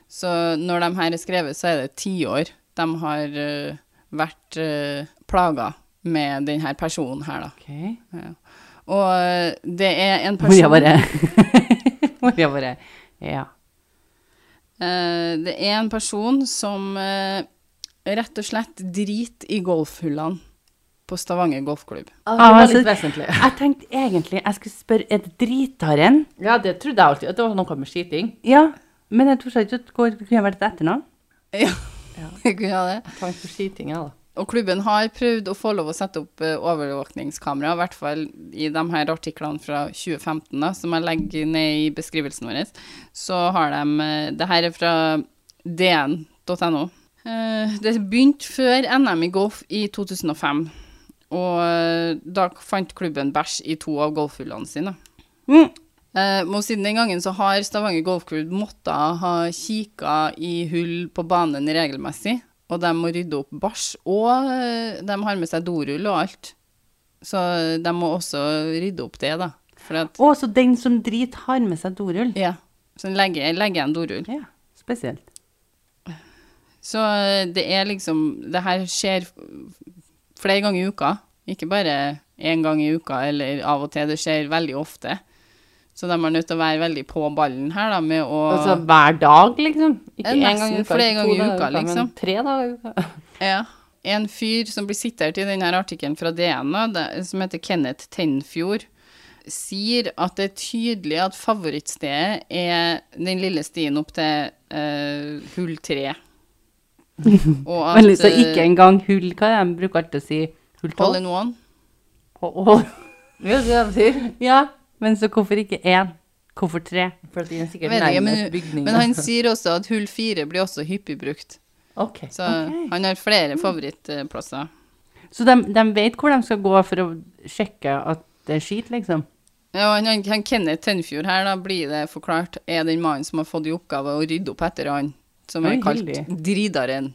[SPEAKER 1] Så når de her er skrevet, så er det ti år de har eh, vært uh, plaga med denne personen her, da.
[SPEAKER 2] ok.
[SPEAKER 1] Ja. Og eh, det er en person
[SPEAKER 2] Maria bare Maria bare Ja.
[SPEAKER 1] Eh, det er en person som eh, rett og slett driter i golfhullene på Stavanger golfklubb.
[SPEAKER 3] Ja,
[SPEAKER 2] Ah,
[SPEAKER 3] det var
[SPEAKER 2] altså-
[SPEAKER 3] litt vesentlig.
[SPEAKER 2] Jeg tenkte egentlig jeg skulle spørre Er det dritharen?
[SPEAKER 3] Ja, det trodde jeg alltid. At det var noe med skiting.
[SPEAKER 2] Ja. Men jeg tror ikke at det går- kunne vært et etternavn.
[SPEAKER 1] Ja, jeg kunne ha det.
[SPEAKER 3] Tank for skiting, ja da.
[SPEAKER 1] Og klubben har prøvd å få lov å sette opp eh, overvåkningskamera, i hvert fall i de her artiklene fra 2015, da, som jeg legger ned i beskrivelsen vår. Så har de eh, Det her er fra dn.no. Eh, Det begynte før NM i golf i 2005, og eh, da fant klubben bæsj i to av golfhullene sine.
[SPEAKER 2] Mm.
[SPEAKER 1] Eh, og siden den gangen så har Stavanger Golfklubb måttet ha kika i hull på banen regelmessig, og de må rydde opp bæsj, og eh, de har med seg dorull og alt. Så de må også rydde opp det, da. For at,
[SPEAKER 2] Å, så den som driter, har med seg dorull?
[SPEAKER 1] ja, så legger legger jeg en dorull.
[SPEAKER 2] Ja. Spesielt.
[SPEAKER 1] Så eh, det er liksom Det her skjer f- flere ganger i uka. Ikke bare én gang i uka eller av og til. Det skjer veldig ofte. Så de er nødt til å være veldig på ballen her, da, med å
[SPEAKER 3] Altså hver dag, liksom? Ikke
[SPEAKER 1] Eh,
[SPEAKER 3] én
[SPEAKER 1] nesten
[SPEAKER 3] gang i uka,
[SPEAKER 1] flere
[SPEAKER 3] ikke
[SPEAKER 1] ganger
[SPEAKER 3] to
[SPEAKER 1] i
[SPEAKER 3] dager
[SPEAKER 1] uka,
[SPEAKER 3] men
[SPEAKER 1] liksom.
[SPEAKER 3] Tre dager i uka.
[SPEAKER 1] Ja. En fyr som blir sitert i denne artikkelen fra DN, nå, det- som heter Kenneth Tenfjord, sier at det er tydelig at favorittstedet er den lille stien opp til eh, hull tre. Og at
[SPEAKER 2] Men liksom ikke
[SPEAKER 1] eh,
[SPEAKER 2] engang hull, hva er det de bruker alltid å si? Hull
[SPEAKER 1] Hole
[SPEAKER 2] tolv?
[SPEAKER 1] in one.
[SPEAKER 3] Vet du hva de sier?
[SPEAKER 2] Ja, men så hvorfor ikke én? Hvorfor tre?
[SPEAKER 3] For at de er sikkert
[SPEAKER 1] Jeg vet ikke,
[SPEAKER 3] nærmest
[SPEAKER 1] men,
[SPEAKER 3] bygningen.
[SPEAKER 1] men han sier også at hull fire blir også hyppig brukt.
[SPEAKER 3] Ok.
[SPEAKER 1] Så han har flere favorittplasser.
[SPEAKER 2] Så de, de vet hvor de skal gå for å sjekke at det er skit, liksom?
[SPEAKER 1] Ja, og han, han, han Kenneth Tenfjord her, da blir det forklart, er den mannen som har fått i oppgave å rydde opp etter han, som
[SPEAKER 2] Oi,
[SPEAKER 1] er kalt
[SPEAKER 2] heldig.
[SPEAKER 1] Dridaren.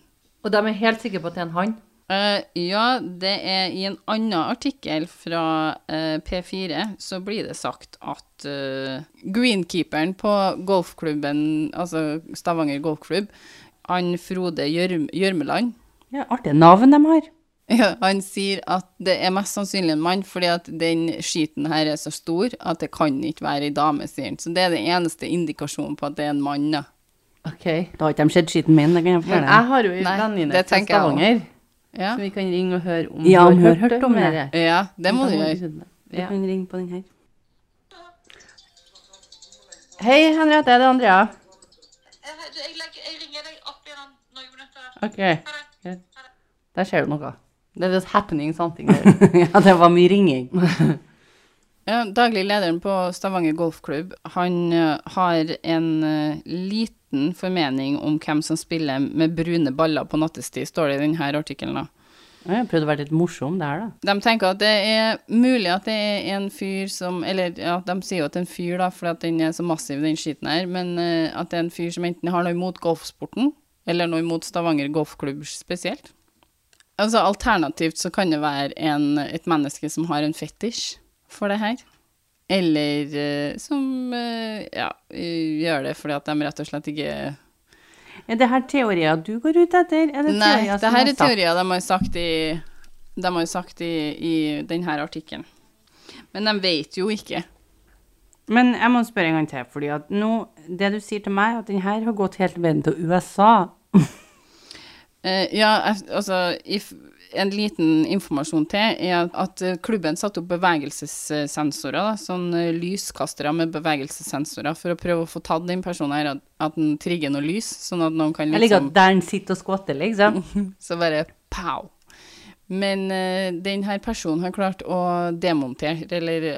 [SPEAKER 3] Og de er helt sikre på at det er en han?
[SPEAKER 1] Eh, ja, det er i en annen artikkel fra eh, P4 så blir det sagt at eh, greenkeeperen på golfklubben, altså Stavanger golfklubb, han Frode Gjørm Gjørmeland,
[SPEAKER 2] Ja, Artige navn de har.
[SPEAKER 1] ja, han sier at det er mest sannsynlig en mann, fordi at den skiten her er så stor at det kan ikke være ei dame, sier han. Så det er den eneste indikasjonen på at det er en mann, da.
[SPEAKER 3] Ok.
[SPEAKER 2] Da har ikke de sett skitten min. det kan jeg
[SPEAKER 3] Men
[SPEAKER 2] fortelle.
[SPEAKER 3] jeg har jo en
[SPEAKER 1] Nei,
[SPEAKER 3] venninne
[SPEAKER 1] det
[SPEAKER 3] fra
[SPEAKER 1] tenker jeg også.
[SPEAKER 3] Stavanger,
[SPEAKER 1] Ja,
[SPEAKER 3] som vi kan ringe og høre om
[SPEAKER 2] Ja, om
[SPEAKER 3] hun
[SPEAKER 2] hun har hørt om
[SPEAKER 3] mer.
[SPEAKER 2] det.
[SPEAKER 1] ja det må du gjøre.
[SPEAKER 2] Du kan ringe på den her.
[SPEAKER 3] Hei, Henriette, det er Andrea.
[SPEAKER 4] Eh, du, Jeg, legger, jeg ringer deg opp igjen om noen minutter.
[SPEAKER 3] Ok.
[SPEAKER 4] Ha det.
[SPEAKER 3] Der skjer det noe. Det er happening something there.
[SPEAKER 2] ja, det var mye ringing.
[SPEAKER 1] Ja, daglig lederen på Stavanger Golfklubb, han eh, har en eh, liten formening om hvem som spiller med brune baller på nattestid, står det i denne artikkelen. da.
[SPEAKER 2] Ja, Jeg prøvde å være litt morsom der, da.
[SPEAKER 1] De tenker at det er mulig at det er en fyr som Eller ja, de sier jo at det er en fyr, da, for at den er så massiv, den skiten her, men eh, at det er en fyr som enten har noe imot golfsporten, eller noe imot Stavanger Golfklubb spesielt. Altså alternativt så kan det være en, et menneske som har en fetisj for det her. Eller eh, som eh, ja, gjør det fordi at de rett og slett ikke
[SPEAKER 2] Er det her teorier du går ut etter? Er det
[SPEAKER 1] Nei,
[SPEAKER 2] teorier
[SPEAKER 1] det
[SPEAKER 2] som
[SPEAKER 1] her
[SPEAKER 2] er
[SPEAKER 1] er
[SPEAKER 2] sagt?
[SPEAKER 1] teorier de har sagt i, de har sagt i, i denne artikkelen. Men de vet jo ikke.
[SPEAKER 2] Men jeg må spørre en gang til, fordi at nå, det du sier til meg, at den her har gått helt veien til USA.
[SPEAKER 1] Eh, ja, jeg- altså if, En liten informasjon til er at- at eh, klubben satte opp bevegelsessensorer, da, sånn eh, lyskastere med bevegelsessensorer, for å prøve å få tatt den personen her, at, at den trigger noe lys, sånn at noen kan
[SPEAKER 2] Jeg liker
[SPEAKER 1] liksom
[SPEAKER 2] at der han sitter og skvatter, liksom.
[SPEAKER 1] Så bare pow. Men eh, den her personen har klart å demontere, eller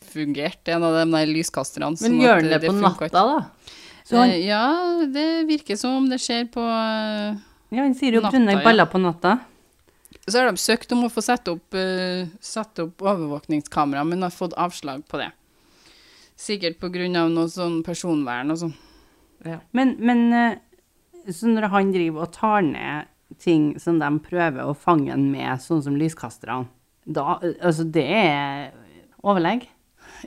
[SPEAKER 1] avfungert, en av de der lyskasterne.
[SPEAKER 2] Men
[SPEAKER 1] sånn
[SPEAKER 2] gjør
[SPEAKER 1] at,
[SPEAKER 2] han
[SPEAKER 1] eh,
[SPEAKER 2] det på
[SPEAKER 1] funker
[SPEAKER 2] natta, da? Så
[SPEAKER 1] Eh,
[SPEAKER 2] han,
[SPEAKER 1] ja, det virker som om det skjer på eh,
[SPEAKER 2] ja, han sier jo
[SPEAKER 1] natta,
[SPEAKER 2] brune
[SPEAKER 1] ja.
[SPEAKER 2] baller på natta.
[SPEAKER 1] Så har de søkt om å få sette opp, eh, sette opp overvåkningskamera, men har fått avslag på det. Sikkert pga. noe sånn personvern og sånn.
[SPEAKER 2] Men, men eh, så når han driver og tar ned ting som de prøver å fange han med, sånn som lyskasterne, da eh, Altså, det er overlegg.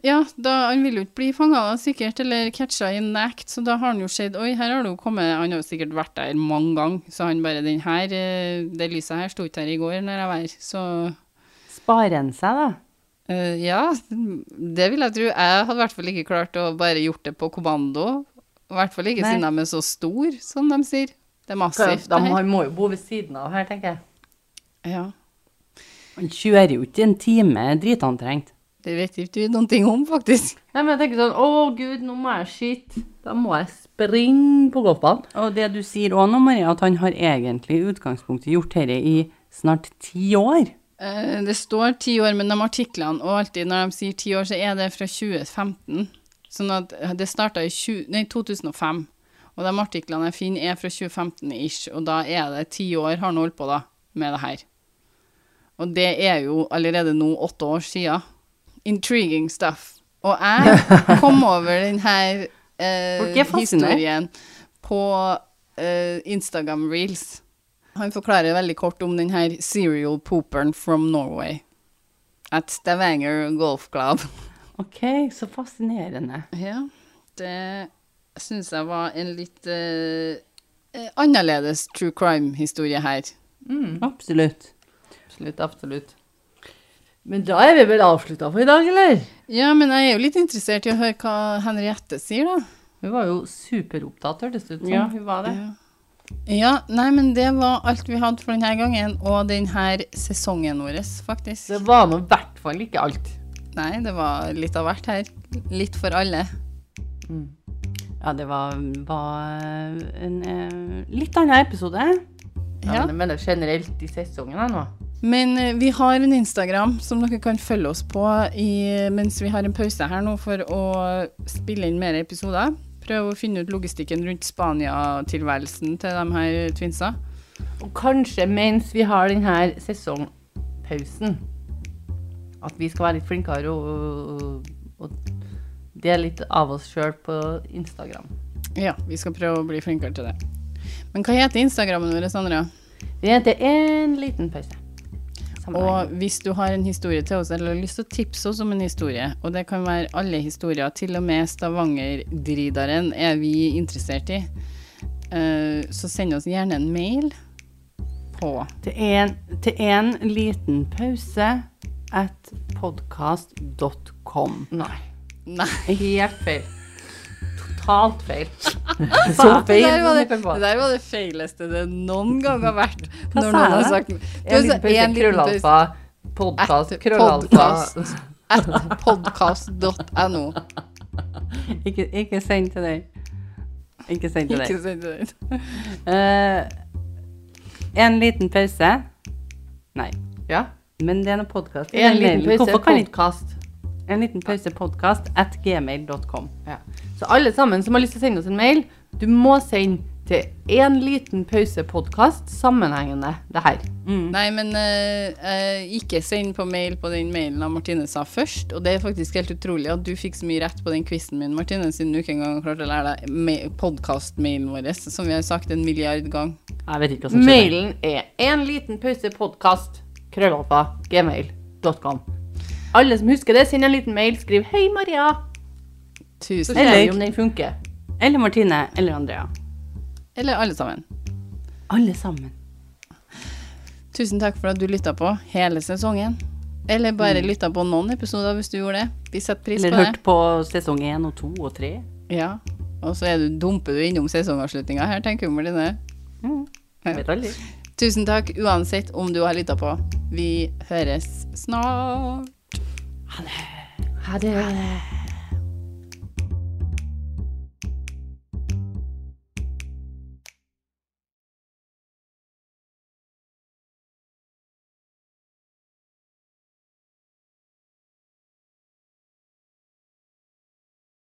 [SPEAKER 1] Ja, da, han vil jo ikke bli fanga da, sikkert, eller catcha i en act, så da har han jo sett Oi, her har det jo kommet Han har jo sikkert vært der mange ganger, så han bare Den her, eh, det lyset her sto ikke her i går når jeg var her, så
[SPEAKER 2] Sparer han seg, da?
[SPEAKER 1] eh, Ja, det vil jeg tro. Jeg hadde i hvert fall ikke klart å bare gjort det på kommando. I hvert fall ikke
[SPEAKER 2] Nei.
[SPEAKER 1] siden de er så store, som de sier. Det er massivt.
[SPEAKER 2] De
[SPEAKER 1] det her.
[SPEAKER 2] han må jo bo ved siden av her, tenker jeg.
[SPEAKER 1] Ja.
[SPEAKER 2] Han kjører jo ikke en time dritantrengt.
[SPEAKER 1] Det vet ikke vi noen ting om, faktisk.
[SPEAKER 3] Nei, men jeg tenker sånn Å, gud, nå må jeg skyte. Da må jeg springe på golfbanen.
[SPEAKER 2] Og det du sier òg nå, Maria, at han har egentlig i utgangspunktet gjort dette i snart ti år.
[SPEAKER 1] Eh, Det står ti år, men de artiklene og alltid når de sier ti år, så er det fra 2015. Sånn at det starta i 20, nei, 2005. Og de artiklene jeg finner, er fra 2015-ish, og da er det ti år har han holdt på da, med det her. Og det er jo allerede nå åtte år siden. Intriguing stuff. Og jeg kom over den her
[SPEAKER 2] Folk
[SPEAKER 1] eh,
[SPEAKER 2] er fascinert.
[SPEAKER 1] historien på eh, Instagram Reels. Han forklarer veldig kort om den her serial pooperen from Norway. At Stavanger Golf Club.
[SPEAKER 2] OK, så fascinerende.
[SPEAKER 1] Ja, det syns jeg var en litt eh, eh, annerledes true crime-historie her. Mm.
[SPEAKER 2] Absolutt.
[SPEAKER 3] Absolutt, absolutt. Men da er vi vel avslutta for i dag, eller?
[SPEAKER 1] Ja, men jeg er jo litt interessert i å høre hva Henriette sier, da.
[SPEAKER 3] Hun var jo superopptatt, hørtes det ut som.
[SPEAKER 2] Ja,
[SPEAKER 3] hun var det.
[SPEAKER 1] Ja, nei, men det var alt vi hadde for denne gangen, og denne sesongen vår, faktisk.
[SPEAKER 3] Det var nå i hvert fall ikke alt.
[SPEAKER 1] Nei, det var litt av hvert her. Litt for alle.
[SPEAKER 2] Ja, det var, var en eh, litt annen episode.
[SPEAKER 1] Ja.
[SPEAKER 3] Ja. Men jeg mener generelt i sesongen her nå.
[SPEAKER 1] Men eh, vi har en Instagram som dere kan følge oss på i, mens vi har en pause her nå for å spille inn mer episoder. Prøve å finne ut logistikken rundt Spania-tilværelsen til de her twinsa.
[SPEAKER 3] Og kanskje mens vi har denne sesongpausen, at vi skal være litt flinkere og, og, og dele litt av oss sjøl på Instagram.
[SPEAKER 1] Ja, vi skal prøve å bli flinkere til det. Men hva heter Instagrammen vår, Sandra?
[SPEAKER 3] Det heter En liten pause. Sammenheng.
[SPEAKER 1] Og hvis du har en historie til oss, eller har lyst til å tipse oss om en historie, og det kan være alle historier, til og med Stavanger-dridaren er vi interessert i, eh, så send oss gjerne en mail på
[SPEAKER 2] Til en, til en liten pause at podcast.com.
[SPEAKER 3] Nei.
[SPEAKER 1] Nei,
[SPEAKER 3] Helt feil. Totalt feil.
[SPEAKER 2] Så
[SPEAKER 1] det
[SPEAKER 2] feil.
[SPEAKER 1] der var det,
[SPEAKER 3] som jeg kom på.
[SPEAKER 1] det, der var det feileste det noen gang har vært.
[SPEAKER 2] Hva
[SPEAKER 1] Når
[SPEAKER 2] sa
[SPEAKER 1] noen
[SPEAKER 2] jeg
[SPEAKER 1] har
[SPEAKER 2] da?
[SPEAKER 1] sagt Du
[SPEAKER 3] En
[SPEAKER 1] har
[SPEAKER 3] liten
[SPEAKER 1] sagt
[SPEAKER 3] pause,
[SPEAKER 1] en liten pause.
[SPEAKER 3] krøllalfa, podkast,
[SPEAKER 1] At
[SPEAKER 3] krøllalfa
[SPEAKER 1] podcast. At podcast.no.
[SPEAKER 2] Ikke, ikke send til deg. Ikke send til deg.
[SPEAKER 1] Ikke send det ut.
[SPEAKER 2] Eh, en liten pause. Nei,
[SPEAKER 3] Ja.
[SPEAKER 2] men det er noe podcast.
[SPEAKER 3] En liten pause,
[SPEAKER 2] Hvorfor kan ikke
[SPEAKER 3] podkast.
[SPEAKER 2] en liten pause podcast at gmail.com?
[SPEAKER 3] Ja. Så alle sammen som har lyst til å sende oss en mail, du må sende til en liten pause podkast sammenhengende det her.
[SPEAKER 1] Nei, men eh, eh, ikke send på mail på den mailen av Martine sa først. Og det er faktisk helt utrolig at du fikk så mye rett på den quizen min, Martine, siden du ikke engang klarte å lære deg podkast-mailen vår, som vi har sagt en milliard gang.
[SPEAKER 2] Jeg vet ikke hva som skjer.
[SPEAKER 3] Mailen er en liten pause podkast krøllalfa gmail.com. Alle som husker det, send en liten mail. Skriv 'Hei, Maria', så
[SPEAKER 1] Tusen
[SPEAKER 3] ser vi
[SPEAKER 2] Eller-
[SPEAKER 3] om den funker.
[SPEAKER 2] Eller Martine. Eller Andrea.
[SPEAKER 1] Eller alle sammen.
[SPEAKER 2] Alle sammen.
[SPEAKER 1] Tusen takk for at du lytta på hele sesongen. Eller bare lytta på noen episoder hvis du gjorde det. Vi setter pris
[SPEAKER 2] Eller
[SPEAKER 1] på
[SPEAKER 2] hørt på sesong 1 og 2 og 3.
[SPEAKER 1] det. Ja. Og så er du, dumper du innom sesongavslutninga her, tenker Martine.
[SPEAKER 3] Vet aldri.
[SPEAKER 1] Tusen takk uansett om du har lytta på. Vi høres snart.
[SPEAKER 3] Ha det.